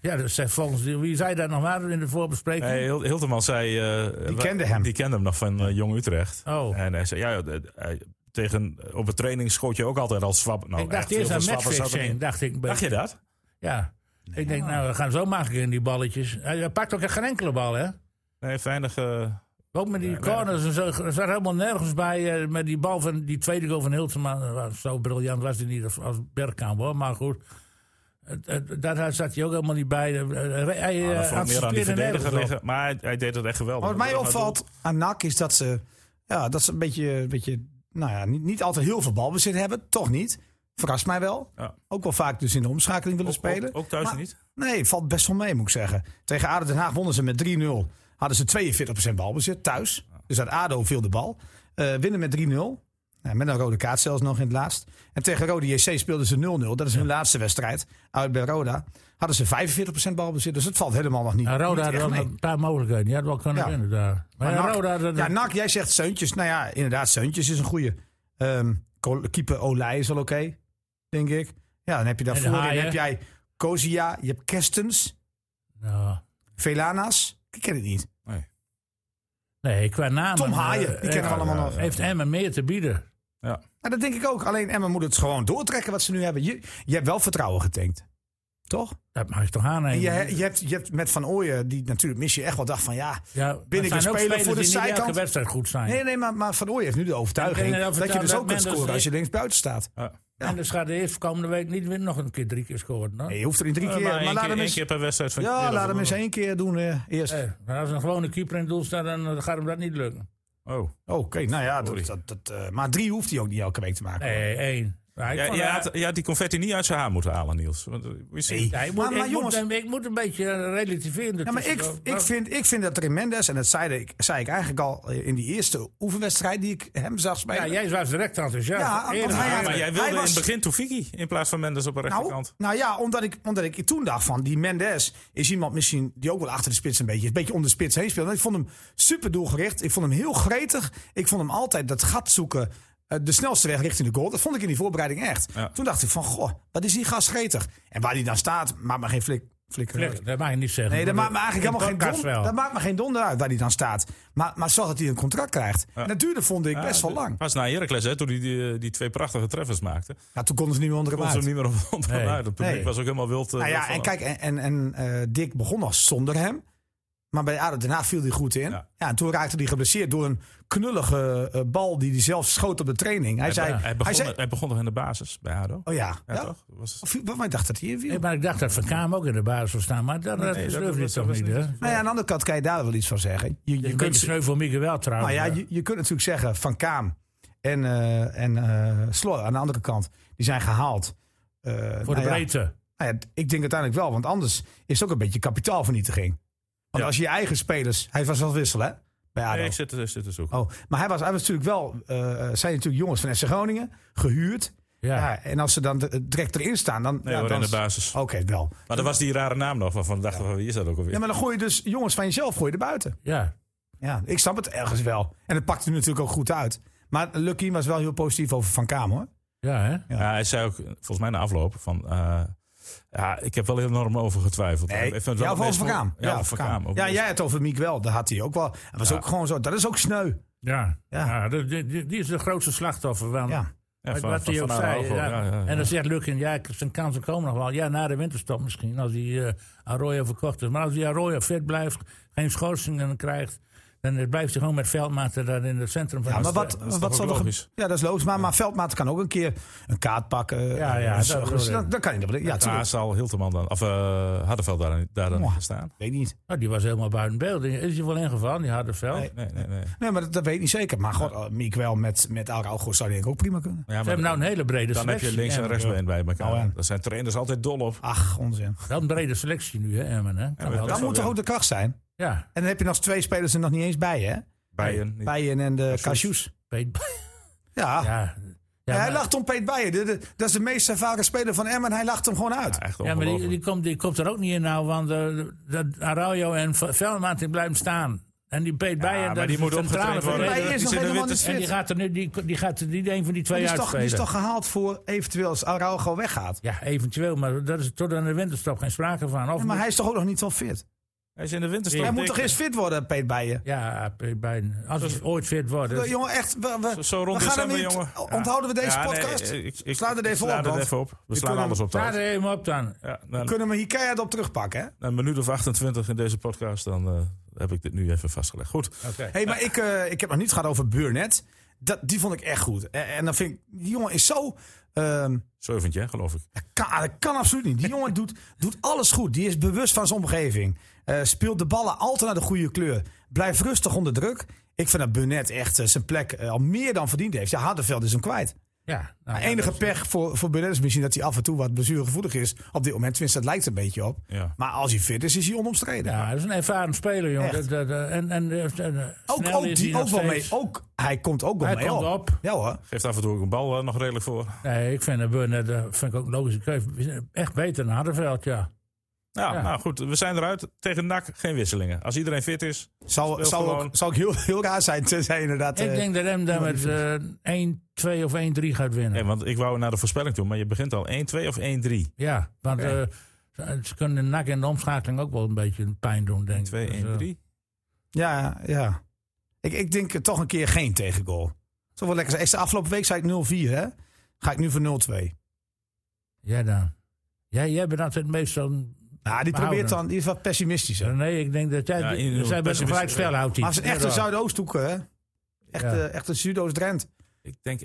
B: ja dat zegt volgens wie zei dat nog maar in de voorbespreking?
D: Hey, Hilt- Hilteman zei... eh,
A: Die
D: wa-
A: kende hem.
D: Die kende hem nog van eh, Jong Utrecht.
B: Oh.
D: En hij zei, ja, eh, hij- tegen, op een training schoot je ook altijd al swap. Nou,
B: ik dacht
D: echt heel
B: eerst
D: veel
B: aan
D: zwappers zat erin.
B: matchfixing, dacht ik.
D: Dacht je dat?
B: Ja. Ik denk, nou, we gaan zo makkelijk in die balletjes. Hij hij pakt ook echt geen enkele bal, hè?
D: Nee, heeft weinig... eh,
B: Ook met die
D: Ja,
B: corners en zo. Er zat helemaal nergens bij. eh, met die bal van die tweede goal van Hiltema. Eh, was Zo briljant was hij niet als, als Bergkamp, hoor. Maar goed. Het- het- Daar zat hij ook helemaal niet bij. Eh, eh, Hij
D: maar dat
B: eh,
D: vond ik meer aan die
B: anticipeerde nergens
D: verdediger
B: op.
D: liggen. Maar hij, hij deed het echt geweldig.
A: Maar wat mij
D: Dat was
A: opvalt aan NAC is dat ze, ja, dat ze een beetje, een beetje nou ja, niet, niet altijd heel veel balbezit hebben. Toch niet. Verrast mij wel.
D: Ja.
A: Ook wel vaak dus in de omschakeling willen
D: Ook- ook-
A: spelen.
D: ook thuis
A: Maar-
D: niet?
A: Nee, valt best wel mee moet ik zeggen. Tegen ADO Den Haag wonnen ze met 3-0. Hadden ze 42% balbezit thuis. Dus uit ADO viel de bal. Eh, winnen met 3-0. Ja, met een rode kaart zelfs nog in het laatst. En tegen Rode JC speelden ze 0-0. Dat is hun laatste wedstrijd. Uit bij Roda hadden ze 45% balbezit. Dus het valt helemaal nog niet.
B: Ja, Nou, Roda
A: niet
B: had
A: echt
B: wel
A: mee.
B: een paar mogelijkheden. Die had wel kunnen
A: Ja.
B: winnen daar. Maar,
A: Maar
B: ja,
A: Nak-
B: Roda... dat-
A: ja, Nak, jij zegt Seuntjes. Nou ja, inderdaad, Seuntjes is een goede. Ehm, Col- keeper Olij is wel oké, denk ik. Ja, dan heb je daarvoor.
B: En
A: Dan
B: Haaien.
A: heb jij Kozia, je hebt Kerstens,
B: nou,
A: Velanas. Ik ken het niet.
B: nee, qua naam...
A: Tom Haaien, die kennen we allemaal nog.
B: Heeft Emmen meer te bieden.
A: Nou, dat denk ik ook. Alleen Emma moet het gewoon doortrekken wat ze nu hebben. Je, je hebt wel vertrouwen getankt. Toch?
B: Dat mag je toch aannemen?
A: En je, je, hebt, je hebt met Van Ooyen, die natuurlijk mis je echt wel dacht van ja.
B: Ja, dat
A: Ben ik
B: zijn
A: een
B: ook
A: speler voor de
B: die niet elke
A: zijkant?
B: wedstrijd goed zijn.
A: Nee, nee, maar, maar Van Ooyen heeft nu de
B: En- en
A: overtuiging
B: dan
A: dat je
B: vertrouwen
A: dus
B: dat
A: ook kunt
B: men dus-
A: scoren als je links buiten staat.
D: Ja.
A: Ja.
B: En dus gaat de eerste komende week niet weer nog een keer drie keer scoren. hoor.
A: Nee, je hoeft er in drie
B: Eh,
D: Maar,
A: keer.
D: één
A: Maar,
D: keer,
A: laat hem
D: één
A: eens,
D: keer per wedstrijd van
A: ja, laat hem eens
D: heen.
A: één keer doen eh, eerst.
B: Eh, maar als een gewone keeper in het doel staat, dan eh, gaat hem dat niet lukken.
D: Oh.
A: Oké, nou ja, dat,
D: Sorry.
A: dat, dat, eh, maar drie hoeft hij ook niet elke week te maken.
B: Nee, één. Ja, ik
D: Ja,
B: vond
D: je,
B: haar-
D: had, je had die confetti niet uit zijn haar moeten halen, Niels. Want, eh, we zien-
A: Nee.
B: Ja, ik moet,
A: Maar- maar
B: ik,
A: jongens-
B: moet, ik moet een beetje relativeren.
A: Ja, maar ik,
B: ertussen.
A: ik, vind, ik vind dat er in Mendes, en dat zei ik, zei ik eigenlijk al eh, in die eerste oefenwedstrijd die ik hem zag
B: Ja,
A: spelen.
B: jij was direct enthousiast.
A: Ja, want
B: Eerder.
A: hij-
D: Ja, maar jij wilde
A: Hij was-
D: in het begin Toefiki in plaats van Mendes op de
A: nou,
D: rechterkant.
A: nou ja, omdat ik, omdat ik toen dacht van die Mendes is iemand misschien die ook wel achter de spits een beetje, een beetje om de spits heen speelt. Want Ik vond hem super doelgericht. Ik vond hem heel gretig. Ik vond hem altijd dat gat zoeken. eh, De snelste weg richting de goal. Dat vond ik in die voorbereiding echt.
D: Ja.
A: Toen dacht ik van, goh, wat is die gast gretig? En waar die dan staat, maakt me geen flik Flikker.
B: Flikker, dat mag je niet zeggen.
A: Nee, dat maakt me eigenlijk helemaal geen
B: podcast
A: donder,
B: wel.
A: dat maakt me geen donder uit waar hij dan staat. Maar, maar zorg dat hij een contract krijgt. En dat duurde, vond ik, best wel
D: Ja,
A: lang.
D: Pas na dus Heracles, hè, toen hij die, die twee prachtige treffers maakte.
A: Nou, toen konden ze niet meer onder hem
D: Kon ze hem
A: uit.
D: niet meer op onderuit.
B: Nee.
D: Het publiek
A: Nee.
D: was ook helemaal wild. eh,
A: Nou
D: wild
A: ja,
D: van
A: en
D: hem.
A: kijk, en, en, en eh, Dick begon nog zonder hem. Maar bij ADO daarna viel hij goed in. Ja.
D: Ja.
A: en toen raakte hij geblesseerd door een knullige eh, bal die hij zelf schoot op de training. Hij,
D: Hij,
A: zei,
D: be- hij, begon,
A: hij zei,
D: hij begon toch in de basis bij ADO?
A: oh ja,
D: Ja,
A: ja? Oh,
D: toch? Was,
A: Of, maar ik dacht dat hij Nou inviel.
B: Nee, maar ik dacht dat Van Kaam ook in de basis zou staan. Maar dat, dat
D: Nee,
B: durfde
D: dat-
B: hij
D: dat-
B: toch
D: dat
B: niet,
D: was
B: hè?
D: niet
A: Nou ja, aan de andere kant kan je daar wel iets van zeggen. Je, je
B: Je kunt
A: kunt,
B: sneu voor Mieke wel
A: maar
B: trouwens.
A: ja, je, je kunt natuurlijk zeggen Van Kaam en, eh, en eh Slor aan de andere kant, die zijn gehaald. Eh,
B: voor de
A: nou ja,
B: breedte.
A: nou ja, ik denk uiteindelijk wel, want anders is het ook een beetje kapitaalvernietiging. Want als je je eigen spelers... Hij was wel wisselen, hè? Bij ADO.
D: nee, ik zit, ik zit te zoeken.
A: Oh, maar hij was, hij was natuurlijk wel, eh, zijn natuurlijk jongens van FC Groningen, gehuurd. Ja.
B: Ja.
A: en als ze dan de- eh, direct erin staan, dan...
D: nee,
A: ja,
D: hoor,
A: dan
D: in de
A: is-
D: basis.
A: Oké, wel.
D: Maar er was die rare naam nog, waarvan dachten we, wie is dat ook alweer?
A: Ja, maar dan gooi je dus jongens van jezelf gooi je er buiten.
B: Ja.
A: Ja, ik snap het ergens wel. En het pakte natuurlijk ook goed uit. Maar Lucky was wel heel positief over Van Kaam, hoor.
B: Ja, hè?
D: Ja, hij zei ook, volgens mij na afloop, van... eh, ja, ik heb wel enorm over getwijfeld.
A: Nee,
D: Ik vind het
A: ja,
D: wel
A: of over
D: meest
A: Van
D: voor-
A: Kaam.
D: Ja, over Van Kaam. Ook
A: Ja,
D: meest-
A: jij het over Miek wel. Daar had hij ook wel. Het was ook gewoon zo. Dat is ook sneu.
B: Ja.
A: Ja.
B: ja. dat- die, die- die is de grootste slachtoffer. Want
A: Ja.
D: ja,
B: wat-
D: van-
B: wat
D: van
B: hij ook
D: Van
B: zei.
D: Araujo,
B: ja.
D: ja, ja,
B: En
D: ja.
B: dan zegt Lukin, ja, ik- zijn kansen komen nog wel. Ja, na de winterstop misschien, als die eh Arroyo verkocht is. Maar als die Arroyo fit blijft, geen schorsingen krijgt... dan blijft hij gewoon met veldmaten daar in het centrum van
A: Ja,
B: de
A: maar wat,
B: stad.
D: is
A: wat
D: toch
A: zal
D: ook
A: er gebe-
D: logisch?
A: Ja, dat is logisch. Maar, maar Veldmaat kan ook een keer een kaart pakken.
B: Ja,
A: eh,
B: ja,
A: zo-
B: dat
A: zo-
B: bedoel ik.
A: dan, dan kan je dat. Ja,
D: Ja,
A: tuurlijk.
D: zal Hilterman dan, of eh Hardenveld daar, daar dan
A: Mwah.
D: gaan staan?
A: Weet ik niet.
B: Nou, die was helemaal buiten beeld. Is hij wel ingevallen, die harde veld?
A: Nee.
D: Nee, nee, nee.
A: Nee, maar dat, dat weet ik niet zeker. Maar god, eh, Miek wel met, met Araujo zou denk ik ook prima kunnen.
D: Ja,
B: Ze
D: maar
B: hebben nou een hele brede
D: dan heb
B: selectie.
D: je links en
B: Emmen.
D: rechtsbeen bij elkaar.
A: Nou, ja.
D: Daar zijn trainers altijd dol op.
A: Ach, onzin.
B: Wel een brede selectie nu, hè, Emmen. Hè? Kan
D: maar
B: wel.
D: dat-
A: Dat
D: wel
A: moet toch
D: weer.
A: ook de kracht zijn?
B: Ja,
A: En dan heb je nog twee spelers er nog niet eens bij, hè?
D: Bijen. niet.
A: Bijen en de Cashews.
B: Peet-
A: Ja.
B: ja. ja,
A: Ja, hij
B: maar-
A: lacht om Peet Bijen. De- de- dat is de meest ervaren speler van Emmen. Hij lacht hem gewoon uit.
D: Ja, echt
B: Ja, maar die,
D: ongelooflijk.
B: die, komt, die komt er ook niet in nou, want eh, dat Araujo en V- Velmaat die blijven staan. En die Peet Bijen,
D: maar
B: dat
D: die
B: is
D: moet
B: de centrale
D: opgetraind worden.
B: verdediger.
A: Bijen is
D: die
A: nog
D: zit in de
A: helemaal niet
D: witte-
B: En die
A: fit.
B: gaat er nu die, die gaat er niet één van die twee
A: Die is, toch, die
B: uitspelen.
A: is toch gehaald voor eventueel als Araujo weggaat.
B: Ja, eventueel, maar dat is tot aan de winterstop geen sprake van. Of
A: Ja, maar hij is toch ook nog niet zo fit?
D: Hij is in de winterstop.
A: Hij moet
D: dik.
A: toch eerst fit worden, Peet Bijen?
B: ja, Peet Bijen, als het ooit fit wordt.
A: We-
B: dus-
A: jongen, echt. We, we,
D: Zo- Zo rond
A: we gaan
D: december,
A: hem niet-
D: jongen.
A: Onthouden we deze
D: Ja, nee, eh,
A: podcast?
D: ik- ik-
A: Slaan er
D: ik
A: even
D: sla
A: op,
D: er
A: want
D: even op. We slaan
A: kunnen-
D: alles op
B: Laat
D: thuis.
B: er even op dan.
D: Ja, nou,
A: Kunnen we hier keihard op terugpakken, hè?
D: na een minuut of 28 in deze podcast, dan eh, heb ik dit nu even vastgelegd. Goed.
B: Oké.
A: Hé, hey, maar ik, eh, ik heb nog niet gehad over Burnett. Dat, die vond ik echt goed. En, en dan vind ik, die jongen is zo. ehm,
D: Zeventje, hè, geloof ik.
A: Kan, dat kan absoluut niet. Die jongen doet, doet alles goed. Die is bewust van zijn omgeving. Eh, speelt de ballen altijd naar de goede kleur. Blijft rustig onder druk. Ik vind dat Burnett echt eh, zijn plek eh, al meer dan verdiend heeft. Ja, Hardenveld is hem kwijt.
B: Ja, nou,
A: Het enige pech voor, voor Burnett is misschien dat hij af en toe wat blessuregevoelig is. Op dit moment, tenminste, dat lijkt een beetje op.
D: Ja.
A: Maar als hij fit is, is hij onomstreden.
B: Ja, dat is een ervaren speler, jongen.
A: Echt.
B: Dat, dat, eh, en, en, eh, eh,
A: Ook,
B: snel
A: ook,
B: is
A: die,
B: hij
A: ook
B: nog
A: wel mee.
B: steeds.
A: Ook, hij komt ook wel
B: Hij
A: mee
B: komt
A: op.
B: op.
A: Ja hoor.
D: Geeft af en toe ook een bal eh, nog redelijk voor.
B: Nee, ik vind, dat Burnett, eh, vind ik ook een logische keuze. We zijn Echt beter dan Hardenveld, ja.
D: Ja,
B: Ja.
D: nou goed. We zijn eruit. Tegen NAC geen wisselingen. Als iedereen fit is.
A: Zou,
D: Speelt
A: zou,
D: gewoon.
A: ook, zou ook heel, heel raar zijn. Tenzij inderdaad.
B: ik
A: eh,
B: denk dat hem daar met eh, 1-2 of 1-3 gaat winnen.
D: Nee, want ik wou naar de voorspelling toe, maar je begint al 1-2 of 1-3.
B: Ja, want eh, ze- ze kunnen nak in de omschakeling ook wel een beetje pijn doen, denk ik.
D: 2,
B: Dus, eh,
D: 1, 3.
A: Ja, ja. Ik, ik denk eh, toch een keer geen tegengoal. Zo wel lekker zijn. Echt, de afgelopen week zei ik 0-4, hè? Ga ik nu voor 0-2.
B: Jij dan. Jij, jij bent altijd meestal...
A: Nou, die probeert
B: Behouden.
A: dan, die is wat pessimistischer.
B: Nee, ik denk dat jij...
D: Ja, in-
B: zij bent een gelijk spel, houdt hij.
A: Maar ze is echt een Zuidoosthoeken, hè? Echt,
B: Ja.
A: eh, echt een Zuidoost-Drent.
D: Ik denk 1-6.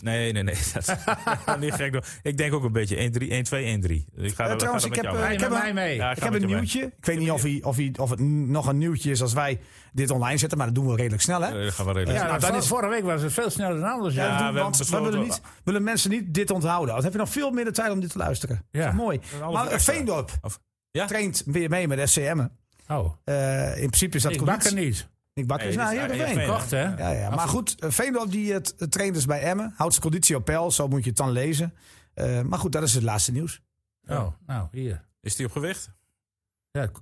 D: Nee, nee, nee. Dat gaat niet gek doen. Ik denk ook een beetje 1-3, 1-2, 1-3. Ik ga
A: Eh,
D: er-
A: trouwens,
D: ga er met
A: ik
D: jou
A: heb,
D: mee.
A: eh,
B: Ik heb mij mee.
D: Ja,
A: Ik
D: ga
A: heb
D: met
A: een
D: je mee.
A: nieuwtje. Ik weet niet of, hij, of, hij, of het n- nog een nieuwtje is als wij dit online zetten, maar dat doen we redelijk snel, hè?
D: Eh, dat gaan we redelijk.
B: Ja,
A: Nou, dan
B: vor-
A: is-
B: Vorige week was het veel sneller dan anders.
A: Ja,
B: Ja,
A: dat doen
D: we
A: we, want
D: hebben
A: we willen, niet,
D: besloten-
A: willen mensen niet dit onthouden. Dan heb je nog veel meer de tijd om dit te luisteren.
B: Ja.
A: Dat is mooi.
D: half
A: Maar
D: uur
A: eh,
D: extra.
A: Veendorp
D: Of- Ja?
A: traint weer mee met SCM'en.
B: Oh,
A: Eh, in principe is dat
B: ik
A: correct.
B: bak er niet.
A: Nick Bakker Nou, is
D: Nee,
A: naar
D: dit is-
A: Heerenveen.
D: Heerenveen.
B: Kocht, hè?
A: Ja, ja. Maar goed, eh, Veendorp die het het traint dus bij Emmen. Houdt zijn conditie op peil, zo moet je het dan lezen. Eh, maar goed, dat is het laatste nieuws.
B: Oh, nou, hier.
D: Is die op gewicht?
B: Ja, k-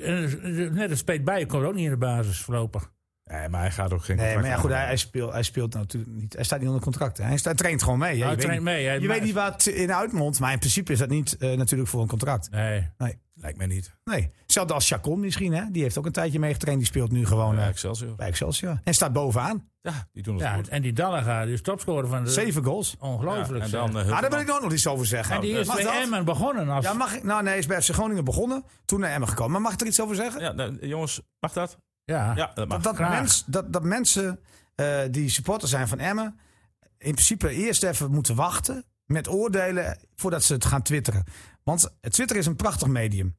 B: en, eh, net als Peet Bijen komt ook niet in de basis voorlopig.
D: Nee, maar hij gaat ook geen.
A: Nee, maar ja,
D: contract
A: goed, hij, hij
D: aan.
A: speelt, hij speelt natuurlijk niet. Hij staat niet onder contract. hè. Hij, staat, hij traint gewoon mee. hè.
B: Hij
A: je weet
B: traint
A: niet,
B: mee, hè.
A: Je
B: Maar-
A: weet niet wat in uitmondt, maar in principe is dat niet eh, natuurlijk voor een contract.
B: Nee.
A: Nee.
D: Lijkt mij niet.
A: Nee. Hetzelfde als Chacon misschien, hè? Die heeft ook een tijdje meegetraind. Die speelt nu gewoon
D: Ja,
A: eh,
D: Excelsior.
A: bij Excelsior. En staat bovenaan.
D: Ja, die doen het
B: Ja,
D: goed.
B: en die Dallega, die is topscorer van de...
A: Zeven goals.
B: Ongelooflijk.
D: Ja, en
B: zeg.
D: dan, eh,
A: Ah, daar wil ik ook nog iets over zeggen.
B: en die is
A: Mag
B: bij
A: nou, dat?
B: Emmen begonnen als...
A: Ja, mag ik? Nou, nee, hij is bij FC Groningen begonnen. Toen naar Emmen gekomen. Maar mag ik er iets over zeggen?
D: ja, nou, jongens, mag dat?
B: ja.
D: Ja, dat mag.
A: dat,
B: graag.
A: mens, dat, dat mensen eh, die supporter zijn van Emmen... in principe eerst even moeten wachten met oordelen... voordat ze het gaan twitteren. Want Twitter is een prachtig medium.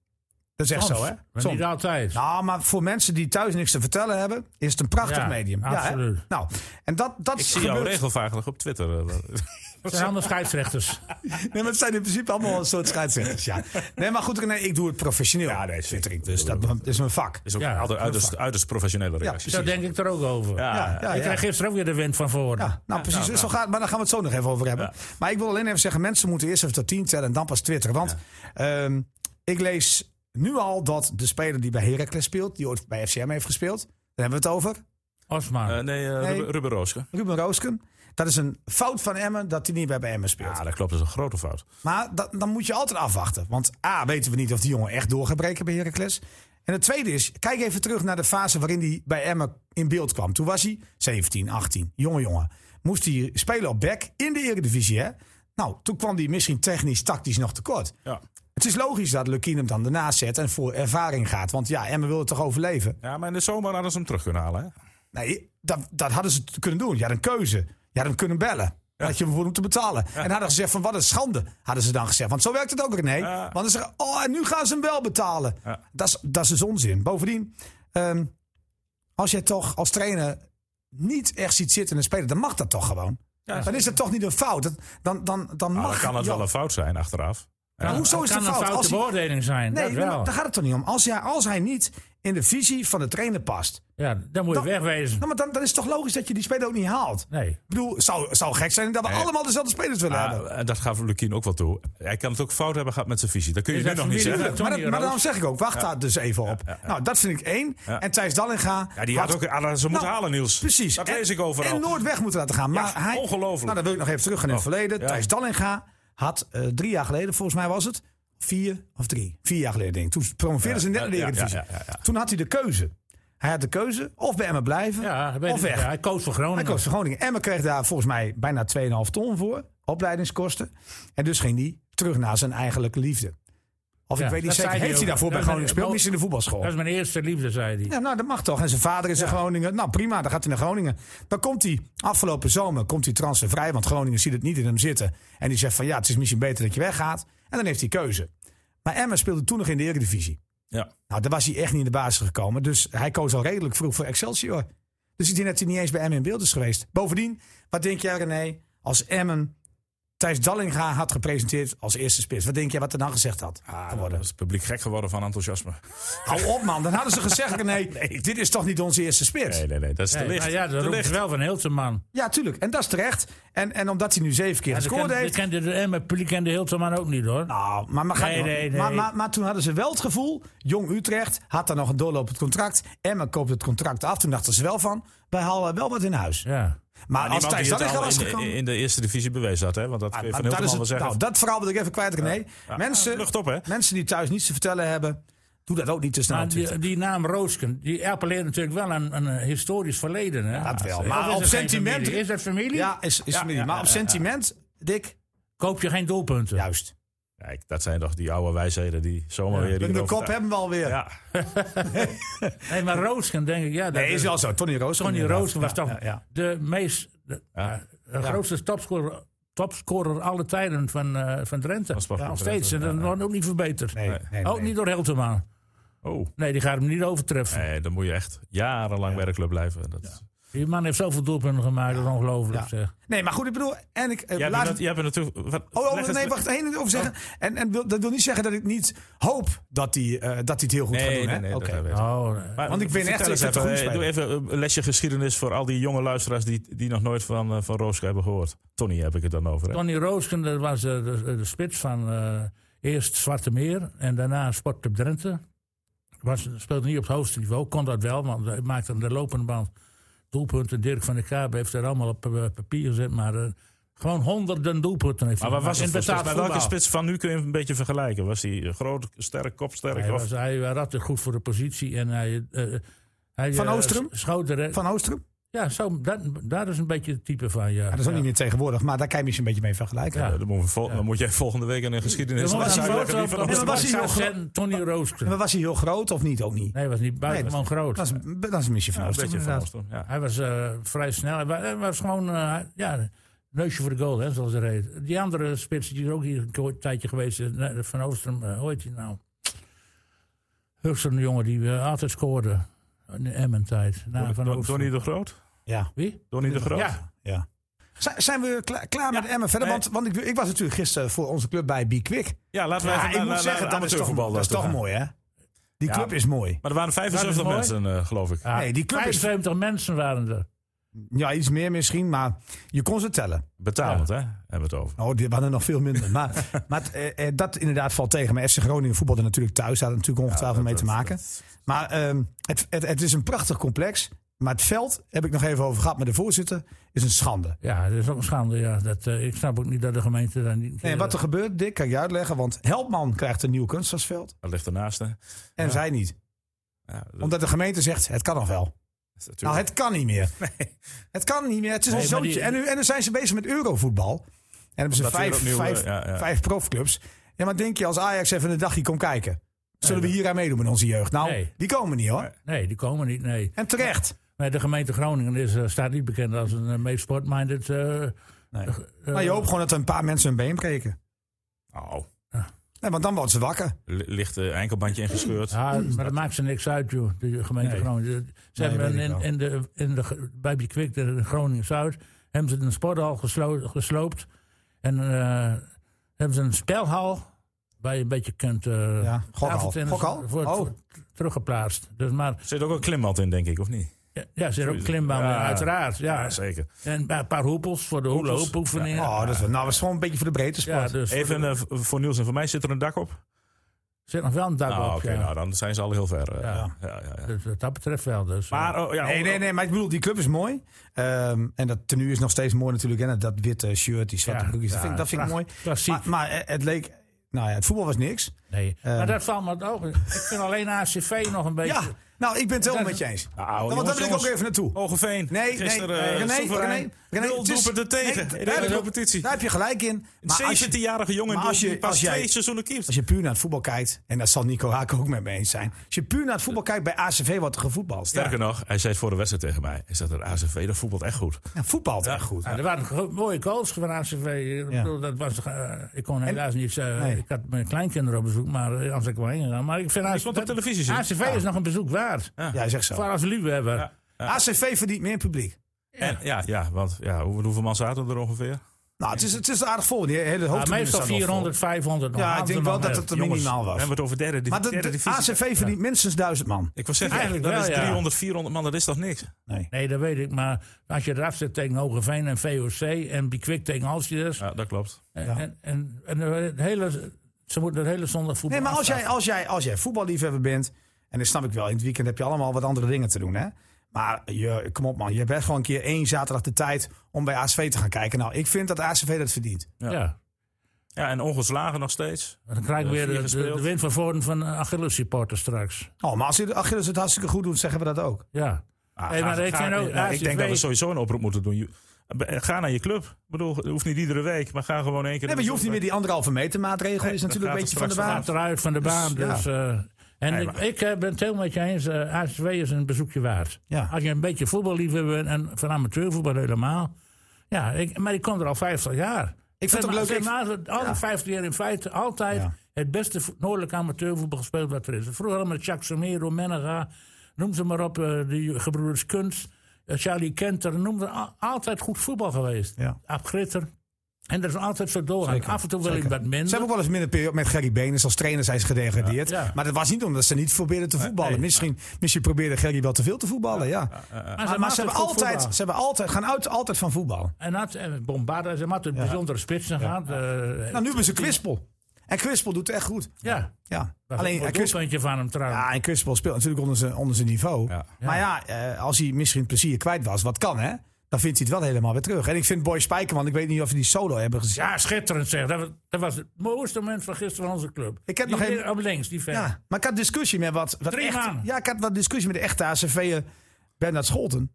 A: Dat is echt
B: Soms,
A: zo, hè?
B: maar
A: Soms.
B: niet altijd.
A: Nou, maar voor mensen die thuis niks te vertellen hebben... is het een prachtig
B: Ja,
A: medium. hè?
B: absoluut.
A: Nou, en dat, dat
D: Ik zie jou
A: gebeurt-
D: regelvaardig op Twitter. eh, wel.
B: Het zijn allemaal scheidsrechters.
A: Nee, maar het zijn in principe allemaal een soort scheidsrechters, ja. Nee, maar goed, nee, ik doe het professioneel. Ja, nee, twittering. Dus dat, is mijn vak.
D: is ook
B: Ja,
D: altijd
B: dat is
D: uiterst, uiterst professionele reactie.
B: Zo denk ik er ook over.
A: Ja, ja,
B: ik
A: ja.
B: kreeg gisteren ook weer de wind van voren.
A: Ja, nou precies. Zo gaat, maar daar gaan we het zo nog even over hebben. Maar ik wil alleen even zeggen, mensen moeten eerst even tot 10 tellen en dan pas twitteren. Want ehm, ik lees nu al dat de speler die bij Heracles speelt, die ooit bij FCM heeft gespeeld, daar hebben we het over,
B: Osman.
D: Eh, nee, eh,
A: Nee.
D: Ruben, Ruben Rooske.
A: Ruben Roosken. Dat is een fout van Emmen dat hij niet meer bij Emmen speelt.
D: Ja, dat klopt. Dat is een grote fout.
A: Maar dat, dan moet je altijd afwachten. Want A, weten we niet of die jongen echt door gaat breken bij Heracles. En het tweede is, kijk even terug naar de fase waarin hij bij Emmen in beeld kwam. Toen was hij 17, 18, jonge jongen. Moest hij spelen op back in de Eredivisie, hè? Nou, toen kwam hij misschien technisch, tactisch nog tekort.
D: Ja.
A: Het is logisch dat Lukien hem dan ernaast zet en voor ervaring gaat. Want ja, Emmen wil het toch overleven?
D: ja, maar in de zomer hadden ze hem terug kunnen halen. Hè?
A: Nee, dat, dat hadden ze t- kunnen doen. Je had een keuze. Je had hem kunnen bellen. Dat je hem voor hem te betalen. En hadden gezegd van wat een schande, hadden ze dan gezegd. Want zo werkt het ook, René.
D: Ja.
A: Want dan zeggen oh, en nu gaan ze hem wel betalen.
D: Ja.
A: Dat, is, dat is dus onzin. Bovendien, ehm, als jij toch als trainer niet echt ziet zitten in een speler, dan mag dat toch gewoon. dan is dat toch niet een fout. Dat- dan, dan, dan
D: Nou,
A: mag
D: dan kan het
A: ja.
D: wel een fout zijn achteraf. Ja.
A: Maar nou, hoezo
B: Dat
A: is het
B: kan
A: een
B: een
A: fout?
B: foute
A: Als hij-
B: beoordeling zijn.
A: nee,
B: dat
A: nee, maar
B: wel.
A: daar gaat het toch niet om. Als hij, als hij niet in de visie van de trainer past,
B: Ja, dan moet je
A: Dan-
B: wegwezen.
A: nou, maar dan, dan is het toch logisch dat je die speler ook niet haalt.
B: Nee.
A: Ik bedoel, het zou, het zou gek zijn dat we allemaal dezelfde spelers willen
D: Ja,
A: hebben.
D: Ah, en dat gaf Lukien ook wel toe. Hij kan het ook fout hebben gehad met zijn visie. Dat kun je
B: Is
D: nu
B: dat
D: nog niet
B: familie-
D: zeggen.
B: Tony
A: Maar, dat- maar
B: Roos.
A: daarom zeg ik ook, wacht daar dus even op. Nou, dat vind ik één.
D: Ja.
A: En Thijs Dallinga...
D: Ja, die
A: had-
D: had ook, hadden ze moeten
A: Nou,
D: halen, Niels.
A: Precies.
D: Dat
A: En-
D: lees ik overal.
A: En Noord weg moeten laten gaan. Maar
D: Ja,
A: hij,
D: ongelooflijk.
A: Nou, dan wil ik nog even terug gaan in het
D: Oh,
A: verleden.
D: ja.
A: Thijs Dallinga had eh, drie jaar geleden, volgens mij was het, vier of drie. Vier jaar geleden, denk ik. Toen promoveerden ze in de
D: ja,
A: derde
D: ja,
A: Eredivisie.
D: ja, ja, ja.
A: Toen had hij de keuze. Hij had de keuze, of bij Emmen blijven,
B: Ja, hij weet
A: of
B: het-
A: weg.
B: ja, hij koos voor Groningen.
A: Hij koos voor Groningen. Emmen kreeg daar volgens mij bijna 2,5 ton voor. Opleidingskosten. En dus ging hij terug naar zijn eigenlijke liefde. Of
B: Ja,
A: ik weet niet
B: dat
A: zeker.
B: zei hij
A: Heeft hij
B: ook.
A: daarvoor bij
B: Dat is
A: Groningen
B: een-
A: gespeeld? Misschien in de
B: Dat
A: voetbalschool.
B: is mijn eerste liefde, zei hij.
A: Ja, nou, dat mag toch. En zijn vader is in Groningen. Nou, prima. Dan gaat hij naar Groningen. Dan komt hij afgelopen zomer komt hij transfervrij. Want Groningen ziet het niet in hem zitten. En die zegt van ja, het is misschien beter dat je weggaat. En dan heeft hij keuze. Maar Emmen speelde toen nog in de Eredivisie.
D: Ja.
A: Nou, daar was hij echt niet in de basis gekomen. Dus hij koos al redelijk vroeg voor Excelsior. Dus ik denk dat hij niet eens bij Emmen in beeld is geweest. Bovendien, wat denk jij René, als Emmen Thijs Dallinga had gepresenteerd als eerste spits? Wat denk jij wat er dan gezegd had
D: Dan
A: geworden?
D: is het publiek gek geworden van enthousiasme.
A: Hou op man, dan hadden ze gezegd René, dit is toch niet onze eerste spits?
D: Nee, nee, nee. Dat is te
B: Nee,
D: licht.
B: maar ja,
D: Te
B: dat roept
D: licht.
B: wel van Hilterman.
A: Ja, tuurlijk. En dat is terecht. En, en omdat hij nu zeven keer
B: Ja, dat
A: gescoord
B: kende- dat
A: heeft...
B: kende de Emmen publiek kende Hilterman ook niet, hoor.
A: Nou, maar, maar, ga-
B: Nee, nee, nee.
A: Maar, maar, maar toen hadden ze wel het gevoel... Jong Utrecht had daar nog een doorlopend contract. Emmen koopt het contract af. Toen dachten ze wel van... wij halen wel wat in huis.
B: Ja.
A: Maar als
D: Ah, Niemand
A: Thijs
D: die het
A: Dallinga
D: al
A: was
D: in, de-
A: gekomen... Ah,
D: in de eerste divisie bewezen had. Hè? Want dat kun je
A: Maar
D: van
A: dat, is
D: Hilterman wel
A: het,
D: zeggen.
A: nou, dat verhaal wil ik even kwijt, René. mensen,
D: Lucht op, hè?
A: mensen die thuis niets te vertellen hebben... doe dat ook niet te snel
B: Maar
A: op Twitter.
B: Ah, die, die naam Roosken, die appelleert natuurlijk wel aan aan een historisch verleden. Hè?
A: dat wel.
B: Of
A: Maar
B: is
A: op
B: het geen
A: sentiment-
B: familie? Is dat familie?
A: Ja, is, is familie. maar op sentiment, Dick,
B: Koop je geen doelpunten?
A: juist.
D: Kijk, dat zijn toch die oude wijsheden die zomaar weer... die
A: De
D: erover-
A: kop hebben we alweer.
D: Ja,
B: Nee, maar Roosken, denk ik, ja. Dat
A: Nee, is wel zo. Tony Roos.
B: Tony Roosken was toch
A: Ja, ja.
B: de meest, de, eh, de grootste topscorer, topscorer alle tijden van, eh, van Drenthe.
D: Van Sparta.
B: nog steeds. En dat wordt ook niet verbeterd.
A: Nee, nee, nee.
B: ook niet door Hilterman.
D: Oh.
B: Nee, die gaat hem niet overtreffen.
D: Nee, dan moet je echt jarenlang bij de club blijven. Dat...
B: Die man heeft zoveel doelpunten gemaakt, dat is ongelooflijk.
A: Ja.
B: Zeg.
A: Nee, maar goed, ik bedoel... En ik, eh,
D: Jij
A: laat-
D: bent, nat- jij bent natuurlijk... Wat,
A: Oh,
D: leg
A: oh
D: eens- Oh.
A: nee, wacht. één ding over zeggen. En, en wil, dat wil niet zeggen dat ik niet hoop dat hij eh, dat hij het heel goed
D: Nee,
A: gaat
D: nee,
A: doen.
D: nee.
A: hè?
D: dat
A: Oké.
D: hebben we.
B: Oh, eh,
D: Maar
A: Want ik ben
D: vertel
A: echt-
D: eens
A: ik vind het
D: even,
A: een
D: eh,
A: goede
D: Doe even een lesje geschiedenis voor al die jonge luisteraars die, die nog nooit van, eh, van Rooske hebben gehoord. Tony heb ik het dan over. Hè?
B: Tony Roosken dat was eh, de, de spits van eh, eerst Zwarte Meer en daarna Sportclub Drenthe. Was, speelde niet op het hoogste niveau, kon dat wel, want hij maakte aan de lopende band doelpunten. Dirk van der Kaap heeft dat allemaal op eh, papier gezet, maar eh, Gewoon honderden doelpunten heeft
D: Maar waar was
B: in
D: het voor spits?
B: betaald
D: Met welke
B: voetbal.
D: spits van nu kun je hem een beetje vergelijken? Was hij groot, sterk, kopsterk?
B: Hij,
D: of-
B: was, hij ratte goed voor de positie. En hij, eh, hij,
A: Van
B: eh,
A: Oostrum?
B: Schoot er,
A: Van Oostrum?
B: Ja, zo, dat, daar is een beetje het type van. Ja,
A: Ja, Ah, dat is ook niet meer tegenwoordig, maar daar kan je misschien een beetje mee vergelijken.
D: Ja, Eh, dan, moeten we vol- dan moet jij volgende week in een geschiedenis.
B: Er was
D: laten
B: een foto
D: uitleggen wie van
B: op-
A: Nee,
D: ons
A: maar
B: op
D: was.
A: was hij
B: Sascha
A: heel gro-
B: en Tony Rooster.
A: Maar was hij heel groot of niet? Ook niet.
B: Nee, hij was niet buitengewoon groot.
A: Dat is, dat is misschien van
D: Ja, een
A: Oostrum.
D: beetje van
A: inderdaad.
D: Oostrom, ja.
B: Hij was eh, vrij snel. Hij wa- hij was, gewoon, eh, ja, neusje voor de goal, hè, zoals dat heet. Die andere spits, die is ook hier een ko- tijdje geweest, eh, nee, Van Oostrum, eh, hoe heet hij nou? Hulst een jongen die eh, altijd scoorde in de Emmen-tijd. Na van
D: Don-
B: Oostrum.
D: Donnie de Groot?
A: Ja.
B: Wie?
D: Donnie de Groot?
B: Ja,
A: ja. Zijn- Zijn we kla- klaar met Emmen verder? Want, want ik, ik was natuurlijk gisteren voor onze club bij Be Quick.
D: Ja, laten we
A: Ja,
D: even
A: ik
D: naar-
A: moet
D: naar-
A: zeggen,
D: naar
A: dat is toch,
D: amateurvoetbal
A: dat is
D: laten
A: toch
D: gaan.
A: mooi, hè? Die
D: Ja.
A: club is mooi.
D: Maar er
B: Dat
D: waren 75
B: is mooi.
D: mensen, eh, geloof ik.
A: Nee, die club is...
B: 75 Ah, mensen waren er.
A: Ja, iets meer misschien, maar je kon ze tellen.
D: Betalend, hè? Hebben we het over.
A: Oh, die waren er nog veel minder. Maar, maar het, eh, eh, dat inderdaad valt tegen. Maar FC Groningen voetbalde natuurlijk thuis. Daar had het natuurlijk ongetwijfeld mee te maken. Maar ehm, het, het, het is een prachtig complex. Maar het veld, heb ik nog even over gehad met de voorzitter, is een schande.
B: Ja, dat is ook een schande. Ja. Dat, eh, ik snap ook niet dat de gemeente daar niet...
A: Nee, en wat er gebeurt, Dick, kan ik je uitleggen. Want Helpman krijgt een nieuw kunstgrasveld
D: Dat ligt ernaast, hè?
A: en zij niet.
D: Ja, dat-
A: Omdat de gemeente zegt, het kan nog wel.
D: dat is natuurlijk-
A: Nou, het kan niet meer. Het kan niet meer. Het is een
B: Nee, maar
A: zootje.
B: die-
A: En, nu, en dan zijn ze bezig met eurovoetbal. En hebben ze
D: Omdat we
A: vijf,
D: weer opnieuw,
A: vijf,
D: eh, ja, ja.
A: vijf profclubs. Ja, maar denk je als Ajax even een dagje komt kijken. Zullen we hier aan meedoen met onze jeugd? Nou,
B: Nee.
A: die komen niet hoor.
B: Nee, die komen niet, nee.
A: En terecht.
B: Maar de gemeente Groningen is, eh, staat niet bekend als een eh, meest sportminded... eh, eh,
A: Maar Nou, je hoopt gewoon dat er een paar mensen hun been breken.
D: Nou,
A: Nee, want dan worden ze wakker.
D: li- ligt eh, enkelbandje ingescheurd.
B: Ja, maar dat maakt ze niks uit, joh, de gemeente Groningen. Ze
A: Hmm. Nee,
B: hebben
A: weet ik
B: in,
A: wel.
B: in de, in de, ge- bij die Kwik, de Groningen-Zuid, hebben ze een sporthal geslo- gesloopt. En eh, hebben ze een spelhal waar je een beetje kunt... eh
A: Ja, gokhal.
B: tafeltennis
A: Gokhal?
B: Wordt
A: Oh.
B: wordt teruggeplaatst. Dus maar,
D: Er zit ook een klimmat in, denk ik, of niet?
B: ja, ja, ze hebben ook klimbaan,
D: Ja.
B: in, uiteraard. Ja.
D: zeker.
B: En een paar hoepels voor de hoepeloefeningen. Ja,
A: Oh, dat is, wel- nou, dat is gewoon een beetje voor de breedte sport.
B: dus
D: Even
B: er
D: eh, v- voor Niels en voor mij, zit er een dak op?
B: zit nog wel een dak
D: Nou,
B: op.
D: oké,
B: ja.
D: nou, dan zijn ze al heel ver. eh,
B: Ja.
D: ja, ja, ja.
B: dus, wat dat betreft wel. Dus, eh,
D: Maar, oh, ja,
A: Nee,
D: om-
A: nee, nee, maar ik bedoel, die club is mooi. Ehm, en dat tenue is nog steeds mooi natuurlijk. En dat witte shirt, die zwarte
B: Ja,
A: broekjes, dat
B: ja,
A: vind, ik- dat vind ik mooi.
B: pracht- klassiek.
A: Maar, maar eh, het leek, nou ja, het voetbal was niks.
B: Nee, maar dat valt me ook. Ik vind alleen ACV nog een beetje.
A: Eh. Ja, nou, ik ben het helemaal met je eens.
D: Nou,
A: Want
D: jongens,
A: daar wil ik ook
D: jongens.
A: even naartoe.
D: Hogeveen.
A: Nee,
D: Gisteren,
A: nee,
D: eh,
A: René,
D: soeverein.
A: René, René,
D: Nul
A: het is-
D: doelpunten tegen
A: Nee,
D: in de
A: daar
D: hele
A: heb je-
D: competitie.
A: Daar heb je gelijk in. Maar als je,
D: 17-jarige jongen
A: maar als je-
D: die pas
A: als jij-
D: twee seizoenen keept.
A: als je puur naar het voetbal kijkt, en daar zal Nico Haak ook met me eens zijn. Als je puur naar het voetbal kijkt, bij ACV wordt er gevoetbald.
D: Sterker nog, hij zei het voor de wedstrijd tegen mij. Hij zei, dat ACV, dat voetbalt echt goed.
A: Ja, voetbalt echt goed.
B: Nou, er waren gro- mooie goals van ACV. Ik,
A: Ja.
B: bedoel, dat was, eh, ik kon helaas niet. eh,
A: Nee.
B: Ik had mijn kleinkinderen op bezoek, maar eh, anders had ik wel heen gegaan. Maar ik vind ACV,
D: kon het op televisie zien.
B: ACV is nog een bezoek waard.
A: Ja, zeg
B: Voor
A: zo.
B: als liefhebber.
A: ACV verdient meer publiek.
D: En, ja, ja, want ja, hoe- hoeveel man zaten er ongeveer?
A: Nou, het is, het is aardig vol. Die hele
B: Ja,
A: hoofdtribune
B: meestal
A: staat nog vol.
B: 400, 500. nog.
A: Ja, ik
B: Hadden
A: denk
B: ze
A: wel
B: nog
A: dat
B: meer.
A: het er
D: Jongens,
A: minimaal
D: we
A: was.
D: hebben het over derde, div-
A: Maar de,
D: derde
A: de
D: divisie.
A: ACV verdient minstens 1000 man.
D: Ik was zeggen,
B: Eigenlijk
D: dat
B: wel,
D: is
B: ja.
D: 300, 400 man, dat is toch niks?
A: Nee.
B: Nee, dat weet ik. Maar als je eraf zit tegen Hogeveen en VOC en Bikwik tegen Alcides.
D: Ja, dat klopt.
B: En, en, en, eh, het hele, ze moeten het hele zondag voetbal
A: Nee, maar als
B: afschaffen.
A: jij, als, jij, als jij voetballiefhebber bent, en dat snap ik wel, in het weekend heb je allemaal wat andere dingen te doen, hè? Maar je, kom op man, je hebt best gewoon een keer één zaterdag de tijd om bij ASV te gaan kijken. Nou, ik vind dat ASV dat verdient.
B: ja.
D: Ja, en ongeslagen nog steeds.
B: Dan krijg ik
D: Eh,
B: weer
D: vier
B: de, de,
D: gespeeld.
B: de wind van voren van Achilles supporter straks.
A: Oh, maar als Achilles het hartstikke goed doet, zeggen we dat ook.
B: Ja.
D: Ah,
B: Hey,
D: ga-
B: maar ik
D: ga-
B: vind ook
D: nou, ik
B: ACV
D: denk dat we sowieso een oproep moeten doen. Je- eh, Ga naar je club. Ik bedoel, het hoeft niet iedere week, maar ga gewoon één keer.
A: Nee, maar je hoeft niet meer die anderhalve meter maatregel, is
D: dat
A: natuurlijk een
D: gaat
A: beetje
D: er
A: van de
D: straks
A: baan.
B: Gaat eruit van de baan.
A: ja.
B: Dus, eh, en
D: Nee,
B: ik,
D: maar-
B: ik, eh, ben het helemaal met je eens. eh, ACW is een bezoekje waard.
A: Ja.
B: Als je een beetje voetballiefhebber bent en van amateurvoetbal helemaal. Ja, ik, maar ik kom er al 50 jaar.
A: Ik vind het ook leuk, ik-
B: leuk. Al die 50 jaar in feite altijd
A: Ja.
B: het beste vo- noordelijke amateurvoetbal gespeeld wat er is. Vroeger al met Jacques Somero, Menega, noem ze maar op, eh die gebroeders Kunst, eh, Charlie Kenter, noem ze al- altijd goed voetbal geweest.
A: Ja.
B: Ab Gritter. En dat is altijd zo doorgaan. Af en toe wil ik wat minder.
A: Ze hebben ook wel eens minder periode met Gerry Benes. Als trainer zijn ze gedegradeerd.
B: Ja. Ja.
A: Maar dat was niet omdat ze niet probeerden te voetballen. misschien, misschien probeerde Gerry wel te veel te voetballen. Ja.
B: Maar
A: Maar,
B: hebben
A: maar ze, hebben
B: goed
A: altijd,
B: voetbal.
A: ze hebben altijd, gaan uit, altijd van voetbal.
B: En dat, en Bombarda, ze hadden bijzondere spitsen gehad. eh,
A: Nou, nu hebben ze Kwispel. En Kwispel doet het echt goed.
B: ja,
A: Ja.
B: alleen
A: Alleen
B: een
A: en Kwispel,
B: doelpuntje van hem trouwens.
A: ja, en Kwispel speelt natuurlijk onder zijn, onder zijn niveau.
D: Ja.
A: Maar ja, eh, als hij misschien plezier kwijt was, wat kan hè? dan vindt hij het wel helemaal weer terug. En ik vind Boy Spijkerman, ik weet niet of je die solo hebben gezien.
B: Ja, schitterend zeg. Dat was, dat was het mooiste moment van gisteren van onze club.
A: Ik heb
B: Die
A: nog
B: weer
A: even-
B: Op links, die vent.
A: Ja, maar ik had discussie met wat, wat
B: Drie
A: echt,
B: maanden.
A: Ja, ik had wat discussie met de echte ACV'er Bernard Scholten.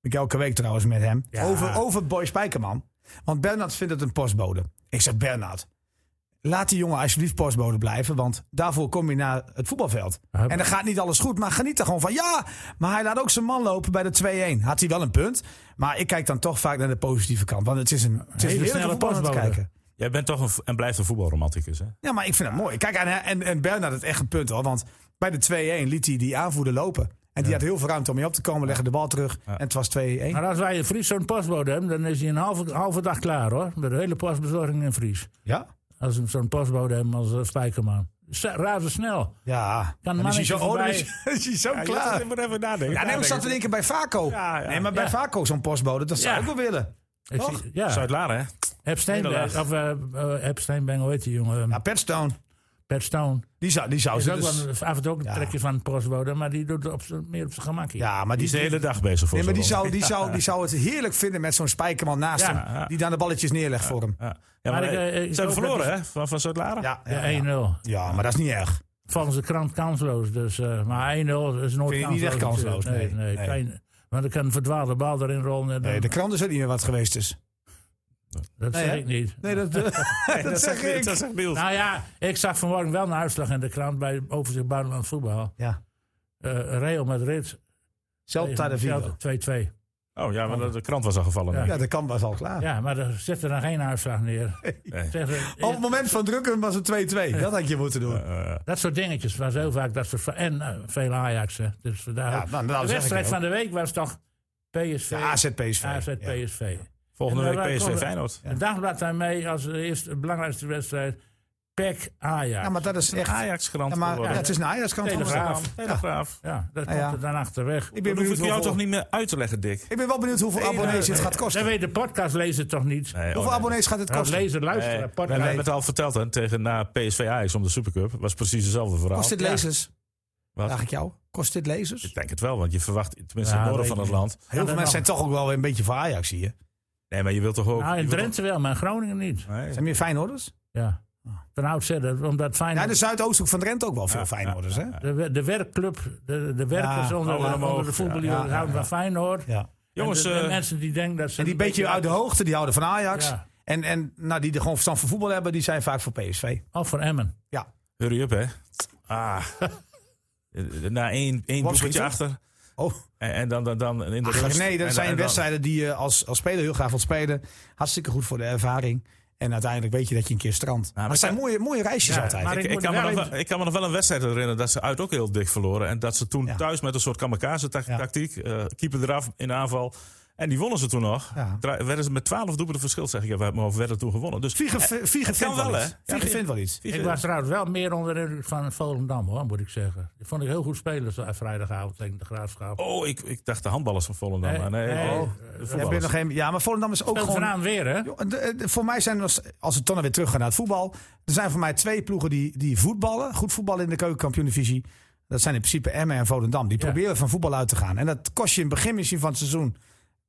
A: Ik elke week trouwens met hem. Over, over Boy Spijkerman. Want Bernard vindt het een postbode. Ik zeg, Bernard, laat die jongen alsjeblieft postbode blijven. Want daarvoor kom je naar het voetbalveld. en dan gaat niet alles goed. Maar geniet er gewoon van. Ja, maar hij laat ook zijn man lopen bij de 2-1. Had hij wel een punt. Maar ik kijk dan toch vaak naar de positieve kant. Want het is een, het is
B: Hele
A: een heerlijke
B: snelle
A: voetbal om naar te
B: postbode.
A: kijken.
D: Jij bent toch een, v- en blijft een voetbalromanticus, hè?
A: Ja, maar ik vind dat mooi. Kijk, en, en, en Bernard had echt een punt hoor. Want bij de 2-1 liet hij die aanvoerder lopen. En die had heel veel ruimte om mee op te komen, legde de bal terug. En het was 2-1.
B: Maar als wij in Fries zo'n postbode hebben, dan is hij een halve, halve dag klaar hoor. Met de hele postbezorging in Fries.
A: Ja?
B: Als we zo'n postbode hebben als eh, Spijkerman. Z- Razendsnel.
A: Ja.
B: Kan
A: Dan is
B: mannetje
A: hij zo, oh, dan is,
B: voorbij.
A: is hij zo klaar.
D: Ik moet even nadenken.
A: Ja, nee, ik zat te denken bij Vaco.
D: Ja, ja.
A: Nee, maar bij
B: Ja.
A: Vaco zo'n postbode, dat zou
B: Ja.
A: ik wel willen.
B: Ik
A: Toch?
B: zie- Ja,
D: Zuid-Laren, hè?
B: Epstein,
D: Inderdaad.
B: of eh eh, Epstein Bang, hoe heet die jongen?
A: Ja, Petstone.
B: Pat Stone.
A: Die zou, die zou
B: Is
A: ze
B: ook
A: dus-
B: wel een- af en toe ook een
A: Ja.
B: trekje van een postbode, maar die doet het op z'n- meer op zijn gemakkie.
A: Ja, maar
D: Die
A: die,
D: is de hele dag bezig voor
A: nee, maar die,
D: zo'n
A: zou, die, zou, die zou het heerlijk vinden met zo'n spijkerman naast
B: Ja.
A: hem. Die dan de balletjes neerlegt voor hem.
D: rol. Ja, ja maar,
B: Maar ik, eh, ik
D: eh, ze
B: hoop
D: hebben verloren,
B: dat
D: hè? Van, van Zuid-Laren?
A: Ja, ja,
B: Ja,
A: ja.
B: 1-0.
A: Ja, maar dat is niet erg.
B: Volgens de krant kansloos. Dus, eh, maar 1-0 is nooit
A: Vind je niet echt kansloos,
B: natuurlijk. Nee, nee,
A: nee, nee.
B: klein- want er kan een verdwaalde bal erin rollen. en dan-
A: Nee, de krant is ook niet meer wat geweest is.
B: dat zeg
A: hè?
B: ik niet.
A: Nee, dat, dat, zeg ik.
D: Dat zegt Niels.
B: Nou ja, ik zag vanmorgen wel een uitslag in de krant bij Overzicht Buitenland Voetbal.
A: Ja.
B: Eh, Real Madrid.
A: Celta de
B: tegen
A: Vigo.
B: Celta, 2-2.
D: Oh ja, want de krant was al gevallen.
B: Ja.
D: denk ik.
A: Ja, de kant was al klaar.
B: Ja, maar er zit er nog geen uitslag neer.
D: Nee.
B: Zeg, eh,
A: Op het moment van drukken was het 2-2. Dat had je moeten doen.
B: Dat soort dingetjes was heel vaak dat soort. En eh, veel Ajax. Hè. Dus vandaar
A: Ja,
B: ook-
A: nou, nou, zeg
B: de
A: ik
B: wedstrijd
A: ook.
B: van de week was toch PSV.
A: De AZ PSV.
B: AZ,
A: Ja.
B: PSV.
D: Volgende
B: En
D: week
B: daar komen
D: PSV
B: we-
D: Feyenoord.
B: Een dagblad daarmee als de eerste belangrijkste wedstrijd. PEC Ajax.
A: Ja, maar dat is echt...
D: Ajax-krant.
A: Ja, maar, ja,
D: geworden.
A: het is een Ajax-kant.
B: Telegraaf.
D: Telegraaf.
B: Ja, dat
A: Ah, ja.
B: komt er dan achterweg.
A: Ik
D: Dan
A: ben,
D: hoef
A: benieuwd
D: ik jou
A: hoeveel,
D: toch niet meer uit te leggen, Dick?
A: ik ben wel benieuwd hoeveel abonnees het gaat kosten.
B: Zij weet de podcast lezen toch niet?
D: Nee,
A: hoeveel
D: oh, nee.
A: abonnees gaat het
B: Dat
A: kosten?
B: lezen, luisteren.
D: Nee, we
B: podcast.
D: hebben het al verteld hè, tegen na PSV Ajax om de Supercup. Was precies hetzelfde verhaal.
A: Kost dit
D: Ja.
A: lezers?
D: Wat?
A: Vraag ik jou. Kost dit lezers?
D: Ik denk het wel, want je verwacht, tenminste
B: Ja,
D: in het noorden
B: weet
D: van
B: ik
D: het
B: niet.
D: land.
A: Heel veel
B: dan
A: mensen zijn toch ook wel weer een beetje voor Ajax hier.
D: Nee, maar je wilt toch ook...
B: Nou,
D: je
B: in
D: wilt
B: Drenthe wel, maar in Groningen niet.
D: toch- nee.
A: Zijn meer Feyenoorders?
B: Ja. Van oudsher, dat- omdat
A: Ja, dus-
B: Feyenoord...
A: de Zuidoosthoek van Drenthe ook wel veel Feyenoorders, hè?
B: De, we- de werkclub, de, de werkers
A: Ja,
B: onder,
D: hou hem
B: onder
D: omhoog.
B: de voetbal
A: Ja, ja,
B: houden van Feyenoord.
A: Ja.
D: Jongens,
B: en de, de
D: eh,
B: mensen die denken dat ze...
A: En die
B: een
A: beetje uit de hoogte, die houden van Ajax.
B: Ja.
A: En, en nou, die er gewoon verstand van voetbal hebben, die zijn vaak voor PSV.
B: Of Oh, voor Emmen.
A: Ja.
D: hurry up hè. Ah. na één, één
A: Wat
D: doelpuntje
A: schiet
D: achter.
A: Oh.
D: En, en dan, dan, dan in de
A: Ach,
D: rust.
A: nee,
D: En
A: dat
D: dan-
A: zijn
D: en dan-
A: wedstrijden die je als, als speler heel graag wilt spelen. Hartstikke goed voor de ervaring. En uiteindelijk weet je dat je een keer strandt. maar
D: maar
A: het zijn mooie, mooie reisjes
B: Ja,
A: altijd.
B: maar
D: Ik,
B: Ik
D: ik,
B: moet
D: kan me
B: wel
D: nog
B: even-
D: wel, ik kan me nog wel een wedstrijd herinneren dat ze uit ook heel dik verloren. En dat ze toen
A: Ja.
D: thuis met een soort kamikaze-tactiek,
A: Ja.
D: eh, keeper eraf in de aanval. En die wonnen ze toen nog.
A: Ja.
D: Dra- Werden ze met 12 doelpunten verschil, zeg ik even uit mijn hoofd, werden toen gewonnen. Dus
A: Vliegen,
D: eh,
A: Viegen vindt
D: kan
A: wel,
D: wel,
A: iets.
D: hè? Ja,
A: Vliegen
D: ja.
A: vindt wel iets.
D: Vliegen-
B: Ik was trouwens wel meer onder de indruk van Volendam, hoor, moet ik zeggen. Die vond ik heel goed spelen zo, vrijdagavond tegen de Graafschap.
D: Oh, ik, ik dacht de handballers van Volendam.
B: Nee,
D: maar nee,
B: nee. Eh, Ja,
D: oh, de
A: Ja,
D: voetballers.
A: ben je nog geen, ja, maar Volendam is ook
B: Speelt
A: gewoon...
B: vanavond weer, hè?
A: Joh, de- de- voor mij zijn, als, als we toch nog weer teruggaan naar het voetbal... er zijn voor mij twee ploegen die, die voetballen. Goed voetballen in de keukenkampioen-divisie. Dat zijn in principe Emmen en Volendam. Die
B: Ja.
A: proberen van voetbal uit te gaan. En dat kost je in het begin misschien van het seizoen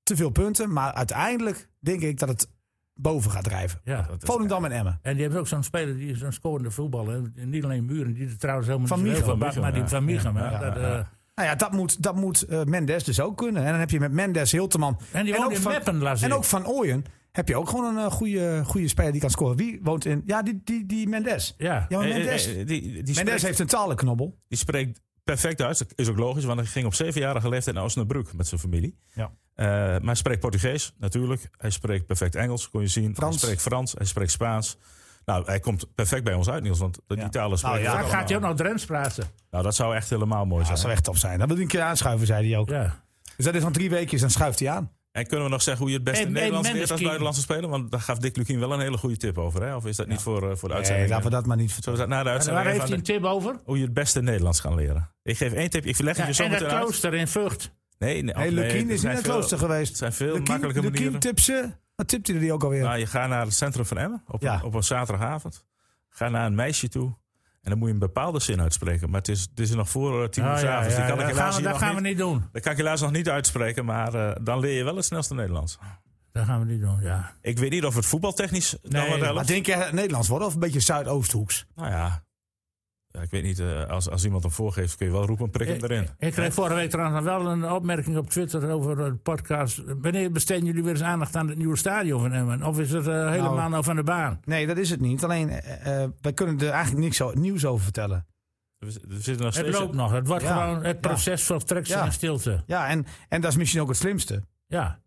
A: te veel punten. Maar uiteindelijk denk ik dat het boven gaat drijven.
B: Ja.
A: Volendam en Emmen.
B: En die hebben ook zo'n speler, die is een scorende voetballer. En Niet alleen Muren, die er trouwens helemaal
A: Van
B: niet zo heel
A: Michel,
B: veel
D: Van
B: bak,
D: Michel,
B: maar die
D: ja.
B: van Michel. hè, dat, eh,
A: Nou ja, dat moet, dat moet eh, Mendes dus ook kunnen. En dan heb je met Mendes, Hilteman
B: En die
A: ook
B: woont in
A: van,
B: Meppen, las
A: en
B: ik.
A: ook Van Ooyen heb je ook gewoon een eh, goede, goede speler die kan scoren. Wie woont in... Ja, die, die, die Mendes.
B: Ja.
A: ja maar
D: Eh, eh,
A: Mendes,
D: eh, die, die, die,
A: Mendes
D: spreekt,
A: heeft een talenknobbel.
D: die spreekt perfect Duits. Dat is ook logisch, want hij ging op zevenjarige leeftijd naar Osnabrück met zijn familie.
A: Ja.
D: Eh, maar hij spreekt Portugees, natuurlijk. Hij spreekt perfect Engels, kon je zien.
A: Frans.
D: Hij spreekt Frans, hij spreekt Spaans. Nou, hij komt perfect bij ons uit, Niels, want die talen spreken
A: ja,
D: we
B: Daar
D: allemaal.
B: gaat hij ook nog Drents praten.
D: Nou, dat zou echt helemaal mooi
A: Dat
D: zijn.
A: zou echt top zijn. Dat wil hij een keer aanschuiven, zei hij ook.
B: Ja.
A: Dus dat is dan drie weekjes, dan schuift hij aan.
D: En kunnen we nog zeggen hoe je het beste
B: En- en
D: Nederlands leert als
B: Mendeski.
D: buitenlandse speler? Want daar gaf Dick Lukien wel een hele goede tip over, hè? Of is dat niet voor, eh, voor de
A: Nee,
D: uitzending?
A: laten we dat maar niet vertellen.
D: Zullen we dat na de
B: En
D: uitzending
B: waar heeft
D: even
B: hij
D: aan
B: een
D: de-
B: tip over?
D: hoe je het beste Nederlands kan leren? Ik geef één tip, ik verleg het
B: Ja,
D: je zo
B: en dat
D: meteen uit.
B: klooster in
D: Oh,
B: Vught.
D: Nee, nee,
A: Hey,
D: nee, er
A: Lukien is niet
D: zijn
A: naar het
D: veel-
A: klooster geweest.
D: Het zijn veel
A: Lukien-
D: makkelijke
A: Lukien
D: manieren.
A: tipt ze. Wat tipte hij er ook alweer?
D: Nou, je gaat naar het centrum van Emmen op,
A: Ja.
D: op een zaterdagavond. Ga naar een meisje toe. En dan moet je een bepaalde zin uitspreken. Maar het is, het is nog voor eh, tien uur
B: Ah,
D: 's
B: ja,
D: avonds.
B: ja,
D: Die kan ik
B: dat
D: helaas
B: gaan, we,
D: hier
B: dat
D: nog
B: gaan
D: niet-
B: we niet doen.
D: dat kan ik helaas nog niet uitspreken, maar eh, dan leer je wel het snelste Nederlands.
B: Dat gaan we niet doen, ja.
D: Ik weet niet of het voetbaltechnisch dan
B: Nee,
D: wat
A: Maar
D: helpt.
A: denk jij dat het Nederlands worden of een beetje Zuidoosthoeks?
D: Nou ja. Ja, ik weet niet, eh, als, als iemand hem voorgeeft, kun je wel roepen, prik hem
B: Ik,
D: erin.
B: ik kreeg vorige week trouwens nog wel een opmerking op Twitter over de podcast. Wanneer besteden jullie weer eens aandacht aan het nieuwe stadion van Emmen? Of is het eh, helemaal nou, van de baan?
A: Nee, dat is het niet. Alleen, eh, eh, wij kunnen er eigenlijk niks zo- nieuws over vertellen.
D: We, we zitten nog
B: Het
D: steeds...
B: loopt nog. Het wordt
A: Ja,
B: gewoon het
A: ja.
B: proces van trekt zich
A: Ja.
B: in stilte.
A: Ja, en, en dat is misschien ook het slimste.
B: Ja.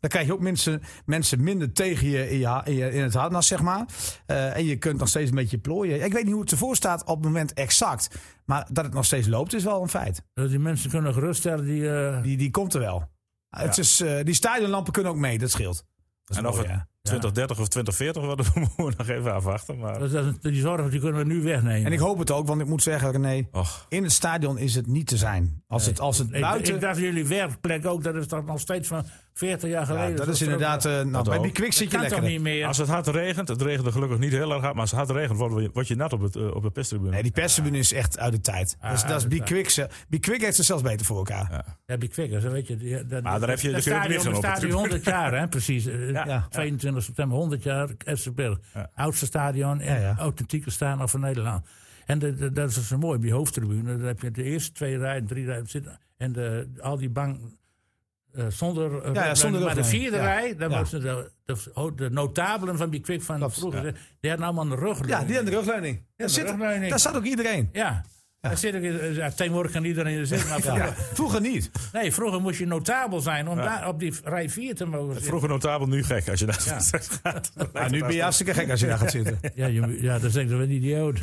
A: Dan krijg je ook mensen, mensen minder tegen je in, je, in, je- in het harnas, zeg maar. Eh, en je kunt nog steeds een beetje plooien. Ik weet niet hoe het ervoor staat op het moment exact. Maar dat het nog steeds loopt is wel een feit.
B: Dus die mensen kunnen geruststellen die... eh,
A: Die, die komt er wel. Het is, eh, die stadionlampen kunnen ook mee, dat scheelt. Dat is
D: en of
A: mooi,
D: het
A: hè?
D: 2030 of 2040 wordt, moeten we nog even afwachten. Maar,
B: dat is- die zorgen die kunnen we nu wegnemen.
A: En ik hoop het ook, want ik moet zeggen, René,
D: och,
A: in het stadion is het niet te zijn. Als het, als het
B: Ik-
A: buiten...
B: ik dacht jullie werkplek ook, dat is toch nog steeds van 40 jaar
A: Ja,
B: geleden.
A: dat is inderdaad... eh, nou,
D: Dat
A: bij
D: ook.
A: die Quick
B: Dat
A: zit je
B: kan toch niet
A: lekker.
B: meer?
D: als het hard regent, het regende gelukkig niet heel erg hard, maar als het hard regent, word je, word je nat op, het, eh, op de pestribune.
A: Nee, die perstribune is echt uit de tijd. dat is,
B: uit
A: dat is
B: de
A: Be
B: tijd.
A: Quick. ze- Be Quick heeft het zelfs beter voor elkaar.
B: heb je kwikkers, dat weet je. die- dat,
D: Maar daar heb je-
B: dat
D: daar kun je ook
B: stadion
D: niet gaan op
B: bestaat
D: de
B: hier
D: tribune.
B: 100 jaar, hè, precies. Eh,
A: Ja.
B: 22 september, 100 jaar, Essenberg. Oudste stadion en
A: Ja, ja.
B: authentieke stadion van Nederland. En de- de- dat is zo mooi, op die hoofdtribune. Daar heb je de eerste twee rijen, drie rijen zitten. En de, al die bank eh, zonder... eh,
A: ja, zonder
B: maar de
A: rugleiding.
B: vierde
A: Ja.
B: rij, daar
A: Ja.
B: was de, de, oh, de notabelen van die kwik van
A: Klopt,
B: vroeger. Die hadden allemaal een rug.
A: Ja, die aan de rugleuning. Daar,
B: de
A: zit,
B: rugleuning.
A: daar zat ook iedereen.
B: Ja. Daar zit ik, in- ja, tegenwoordig kan iedereen er zitten. Maar vroeger,
A: Ja. Ah, Vroeger niet.
B: Nee, vroeger moest je notabel zijn om daar op die rij 4 te mogen zitten.
D: Vroeger notabel, nu gek als je naar
B: Ja.
D: gaat.
A: Maar nu ben je hartstikke gek als je daar gaat zitten.
B: Ja, je, moet- ja, dat is echt een idioot.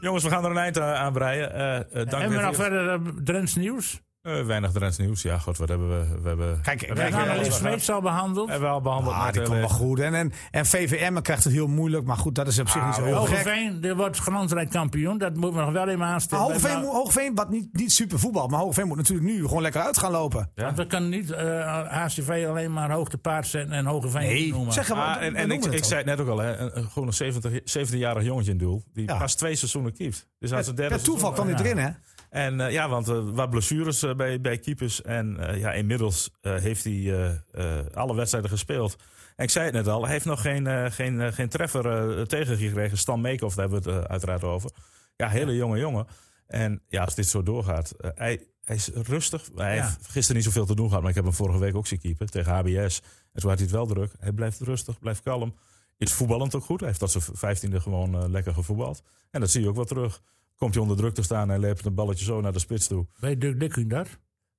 D: Jongens, we gaan er een eind aan aan breien. Eh, eh, dank
B: Hebben we
D: weer
B: nog
D: voor-
B: verder eh, Drents nieuws?
D: Eh, weinig Drents nieuws. Ja, god, wat hebben we... We hebben,
A: Kijk,
D: we
A: kijk,
B: We gaan
D: hebben
A: eh,
B: Annelies
D: alles gehad.
B: Smeets al behandeld.
D: Hebben we al behandeld.
A: Ah,
D: met
A: die
D: de-
A: komt wel goed. En, en, en VVM krijgt het heel moeilijk. Maar goed, dat is op zich niet zo heel gek.
B: Hogeveen, die wordt glansrijk kampioen. Dat moeten we nog wel even
A: Maar
B: aanstellen.
A: Hoogveen, Ah, moet- Hoogveen, wat niet, niet super voetbal. Maar Hoogveen moet natuurlijk nu gewoon lekker uit gaan lopen.
B: Want we kunnen niet eh HCV alleen maar hoogtepaard zetten en Hogeveen niet
A: Nee,
B: noemen.
A: zeg gewoon.
D: Ah, en en ik, ik zei het net ook al, hè, een- een- gewoon een 70 17-jarig jongetje in doel. Die
A: Ja.
D: pas twee seizoenen keept. Dus aan zijn derde
A: Per toeval kwam
D: seizoen,
A: dit
B: ja.
A: erin, hè?
D: eh, En eh, ja, want eh, wat blessures eh, bij, bij keepers. En eh, ja, inmiddels eh, heeft hij eh, eh, alle wedstrijden gespeeld. En ik zei het net al, hij heeft nog geen, eh, geen, eh, geen treffer eh, tegengekregen. Stan Meekhoff, daar hebben we het eh, uiteraard over. Ja, hele jonge jongen. En ja, als dit zo doorgaat. eh, hij, hij is rustig. Hij
B: Ja.
D: heeft gisteren niet zoveel te doen gehad. Maar ik heb hem vorige week ook zien keeper tegen HBS. En zo had hij het wel druk. Hij blijft rustig, blijft kalm. Is voetballend ook goed. Hij heeft dat zijn vijftiende gewoon eh, lekker gevoetbald. En dat zie je ook wel terug. Komt hij onder druk te staan en levert een balletje zo naar de spits toe.
B: Weet Dirk Dikking dat?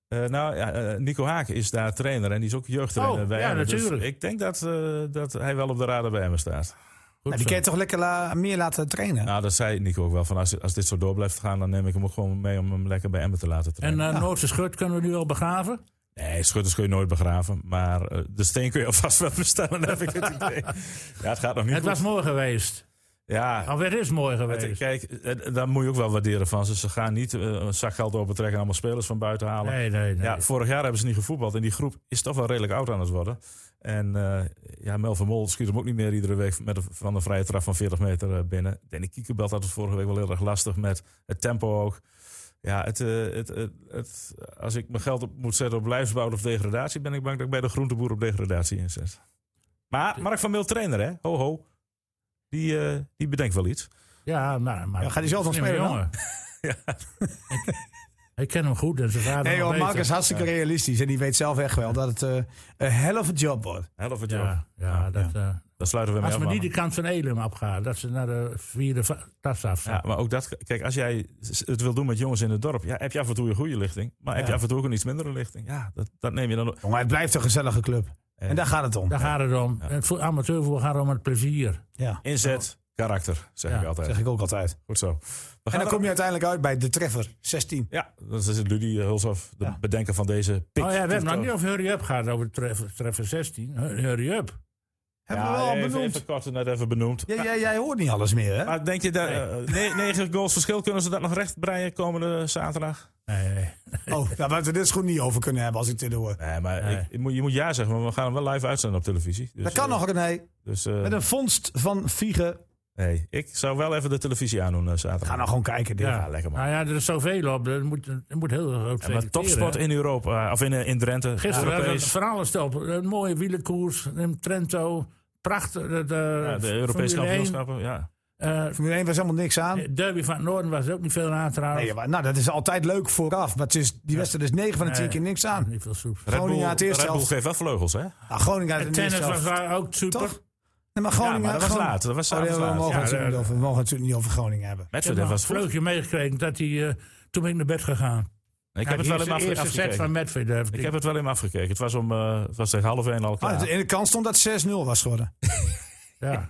D: Eh, nou, ja, eh, Nico Haak is daar trainer en die is ook jeugdtrainer
B: Oh,
D: bij
B: ja,
D: Emmen. Dus
B: natuurlijk.
D: ik denk dat, eh, dat hij wel op de radar bij hem staat.
B: Goed
A: Nou, die
B: zo.
A: kan je toch lekker la- meer laten trainen?
D: Nou, dat zei Nico ook wel. Van als, als dit zo door blijft gaan, dan neem ik hem ook gewoon mee om hem lekker bij Emmen te laten
B: En
D: trainen.
B: eh Noordse Schut kunnen we nu al begraven?
D: Nee, schutters kun je nooit begraven. Maar eh, de steen kun je alvast wel bestellen, heb ik het idee. Ja, het gaat nog niet
B: Het
D: goed.
B: was Oh, mooi geweest.
D: Ja,
B: Alweer is mooi geweest.
D: Het- kijk, eh, daar moet je ook wel waarderen van. Ze, ze gaan niet eh, een zak geld opentrekken en allemaal spelers van buiten halen.
B: nee, nee, nee.
D: Ja, vorig jaar hebben ze niet gevoetbald en die groep is toch wel redelijk oud aan het worden. En eh, ja, Mel van Mol schiet hem ook niet meer iedere week met een, van een vrije trap van 40 meter eh, binnen. Danny Kiekebelt had het vorige week wel heel erg lastig met het tempo ook. Ja, het, eh, het, het, het- als ik mijn geld op moet zetten op lijfsbouw of degradatie, ben ik bang dat ik bij de groenteboer op degradatie inzet. Maar Mark van Mil trainer, hè? Ho, ho. Die, eh, die bedenkt wel iets.
B: Ja, maar, maar
A: Ja, gaat hij zelf nog
B: slimme
A: spelen
B: jongen. ik, ik ken hem goed en zijn vader.
A: nee
B: nog
A: joh, Mark
B: beter.
A: is hartstikke realistisch. En die weet zelf echt wel dat het eh, een hell of a job wordt.
D: Helft het job.
B: Ja, ja, dat, eh,
D: Dan sluiten we mee
B: als
D: af,
B: we niet
D: mannen.
B: de kant van Elim opgaan, dat ze naar de vierde va- tas af zijn.
D: Ja, maar ook dat, kijk, als jij s- het wil doen met jongens in het dorp, ja, heb je af en toe een goede lichting, maar heb je af en toe ook een iets mindere lichting. Ja, dat, dat neem je dan ook.
A: Jongen, het blijft een gezellige club. En daar gaat het om.
B: Daar gaat het om. Het voor amateurvoetbal gaat om het plezier.
A: Ja,
D: Inzet, karakter, zeg
B: Ja,
D: ik altijd.
A: zeg ik ook altijd.
D: Goed zo. We
A: En
D: gaan
A: dan kom je uiteindelijk uit bij de treffer 16.
D: Ja, dat is Ludie Hulshoff, de bedenker van deze pik.
B: oh ja, we hebben nog
D: Toetel.
B: niet over Hurry Up gehad, over treffer, treffer 16. Hu- Hurry Up.
A: Hebben we
D: Ja,
A: wel al
D: even,
A: benoemd.
D: even kort net even benoemd.
A: Jij, jij, jij hoort niet alles meer, hè?
D: Maar denk je dat eh, ne- negen goals verschil kunnen ze dat nog recht breien komende zaterdag?
B: Nee, nee. Dus,
A: Oh, daar hadden we dit goed niet over kunnen hebben als ik dit hoor.
D: Nee, maar ik- ik moet- je moet ja zeggen, maar we gaan hem wel live uitzenden op televisie. Dus,
A: Dat kan
D: eh,
A: nog, René.
D: Dus, eh,
A: Met een vondst van Viegen.
D: Nee, ik zou wel even de televisie aandoen eh, zaterdag.
A: Ga nou gewoon kijken. Dirk.
D: Ja, lekker man.
B: Nou ja, er is zoveel op. Er moet, er moet heel groot
D: Ja, maar
B: selecteren,
D: topsport
B: hè.
D: in Europa, eh, of in, eh, in Drenthe.
B: Gisteren hebben we
D: Europees.
B: van alles op. Een mooie wielenkoers in Trento. Prachtig. De, de,
D: Ja, de Europese
B: Formule één.
D: kampioenschappen, ja.
B: Eh,
A: Formule 1 was helemaal niks aan.
B: Derby van het Noorden was er ook niet veel aan trouwens.
A: Nee, maar, nou, dat is altijd leuk vooraf. Maar het is, die wedstrijd is 9 van de 10
B: Nee.
A: keer niks aan.
B: Niet veel soep.
D: Red Bull,
A: Groningen uit de eerste
D: Red Bull
A: helft.
D: geeft wel vleugels, hè?
A: Nou, Groningen uit
B: En
A: de
B: tennis
A: eerste
B: was
A: helft.
B: daar ook super.
A: Toch? Nee, maar
D: Ja,
A: Groningen,
D: maar dat was
A: Groningen-
D: laat. Dat was
A: Oh, nee,
D: s'avonds
A: we,
D: laat.
A: mogen
B: Ja,
A: het natuurlijk
B: dat-
A: niet over, we mogen het natuurlijk niet over Groningen hebben.
B: Ik heb
D: Medvedev
B: nog een
D: was goed.
B: vleugje meegekregen dat hij... eh, toen ben ik naar bed gegaan.
D: Ik heb het wel in
B: de
D: Afri-
B: eerste set
D: afgekeken.
B: van Medvedev.
D: Ik heb het wel in afgekeken. Het was, om, eh, het was tegen half één al
A: Ah,
D: klaar.
A: In de kans stond dat 6-0 was geworden.
B: Ja.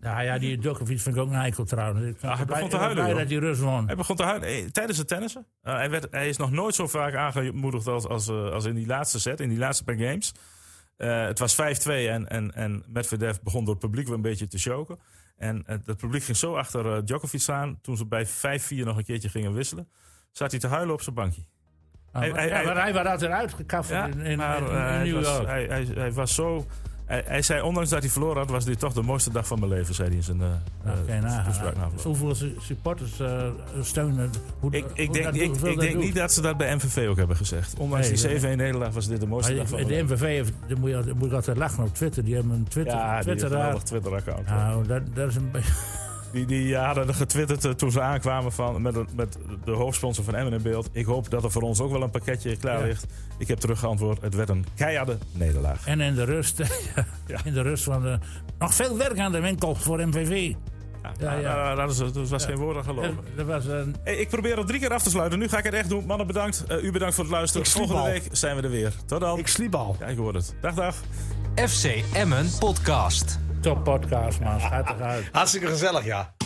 B: nou ja, die Djokovic vind ik ook een eikel trouwens. Ik was
D: Ah, hij begon
B: blij-
D: te
B: ik was
D: huilen,
B: blij
D: joh.
B: dat die Rus won.
D: Hij begon te huilen eh, tijdens het tennissen. Eh, hij, werd, hij is nog nooit zo vaak aangemoedigd als, als, eh, als in die laatste set, in die laatste paar games. Eh, het was 5-2 en, en, en Medvedev begon door het publiek weer een beetje te choken. En eh, het publiek ging zo achter eh, Djokovic staan. Toen ze bij 5-4 nog een keertje gingen wisselen, zat hij te huilen op zijn bankje.
B: Ja,
D: hij-
B: Ah, maar-
D: hij-
B: ja, maar hij was altijd uitgekafferd in,
D: Ja,
B: in,
D: maar,
B: in-
D: eh,
B: in
D: hij,
B: New
D: was,
B: York.
D: hij, hij, hij was zo... Hij, hij zei, ondanks dat hij verloren had, was dit toch de mooiste dag van mijn leven, zei hij in zijn eh,
B: Nou, kan je
D: eh,
B: nagaan.
D: toespraak na afloop.
B: Hoeveel su- supporters eh, steunen? Hoe,
D: Ik,
B: hoe
D: ik denk,
B: dat-
D: ik,
B: hoeveel
D: ik
B: dat
D: denk
B: doet.
D: niet dat ze dat bij MVV ook hebben gezegd. Ondanks
B: Nee,
D: die
B: nee.
D: 7-1 nederlaag was dit de mooiste dag van
B: Maar de
D: mijn leven.
B: MVV, heeft, daar moet je, altijd- moet ik altijd lachen op Twitter. Die hebben een Twitter,
D: Ja, die heeft een
B: Twitteraar.
D: geweldig Twitter-account.
B: Nou, dat, dat is een beetje...
D: Die, die hadden er getwitterd eh, toen ze aankwamen van, met, een- met de hoofdsponsor van Emmen in beeld. Ik hoop dat er voor ons ook wel een pakketje klaar
B: Ja.
D: ligt. Ik heb teruggeantwoord, het werd een keiharde nederlaag.
B: En in de rust.
D: Ja.
B: In de rust van de... Nog veel werk aan de winkel voor MVV. ja, ja.
D: Nou, nou, dat, is, dat was geen woord aan
B: Dat,
D: geloven.
B: dat was een...
D: Hey, ik probeer al drie keer af te sluiten. Nu ga ik het echt doen. Mannen, bedankt. Eh, u bedankt voor het luisteren.
A: Ik sliep
D: Volgende
A: al.
D: week zijn we er weer. Tot dan.
A: Ik sliep al.
D: Ja, ik hoor het. Dag, dag.
C: FC Emmen Podcast.
B: Top podcast, man. Gaat eruit.
A: Hartstikke gezellig, ja.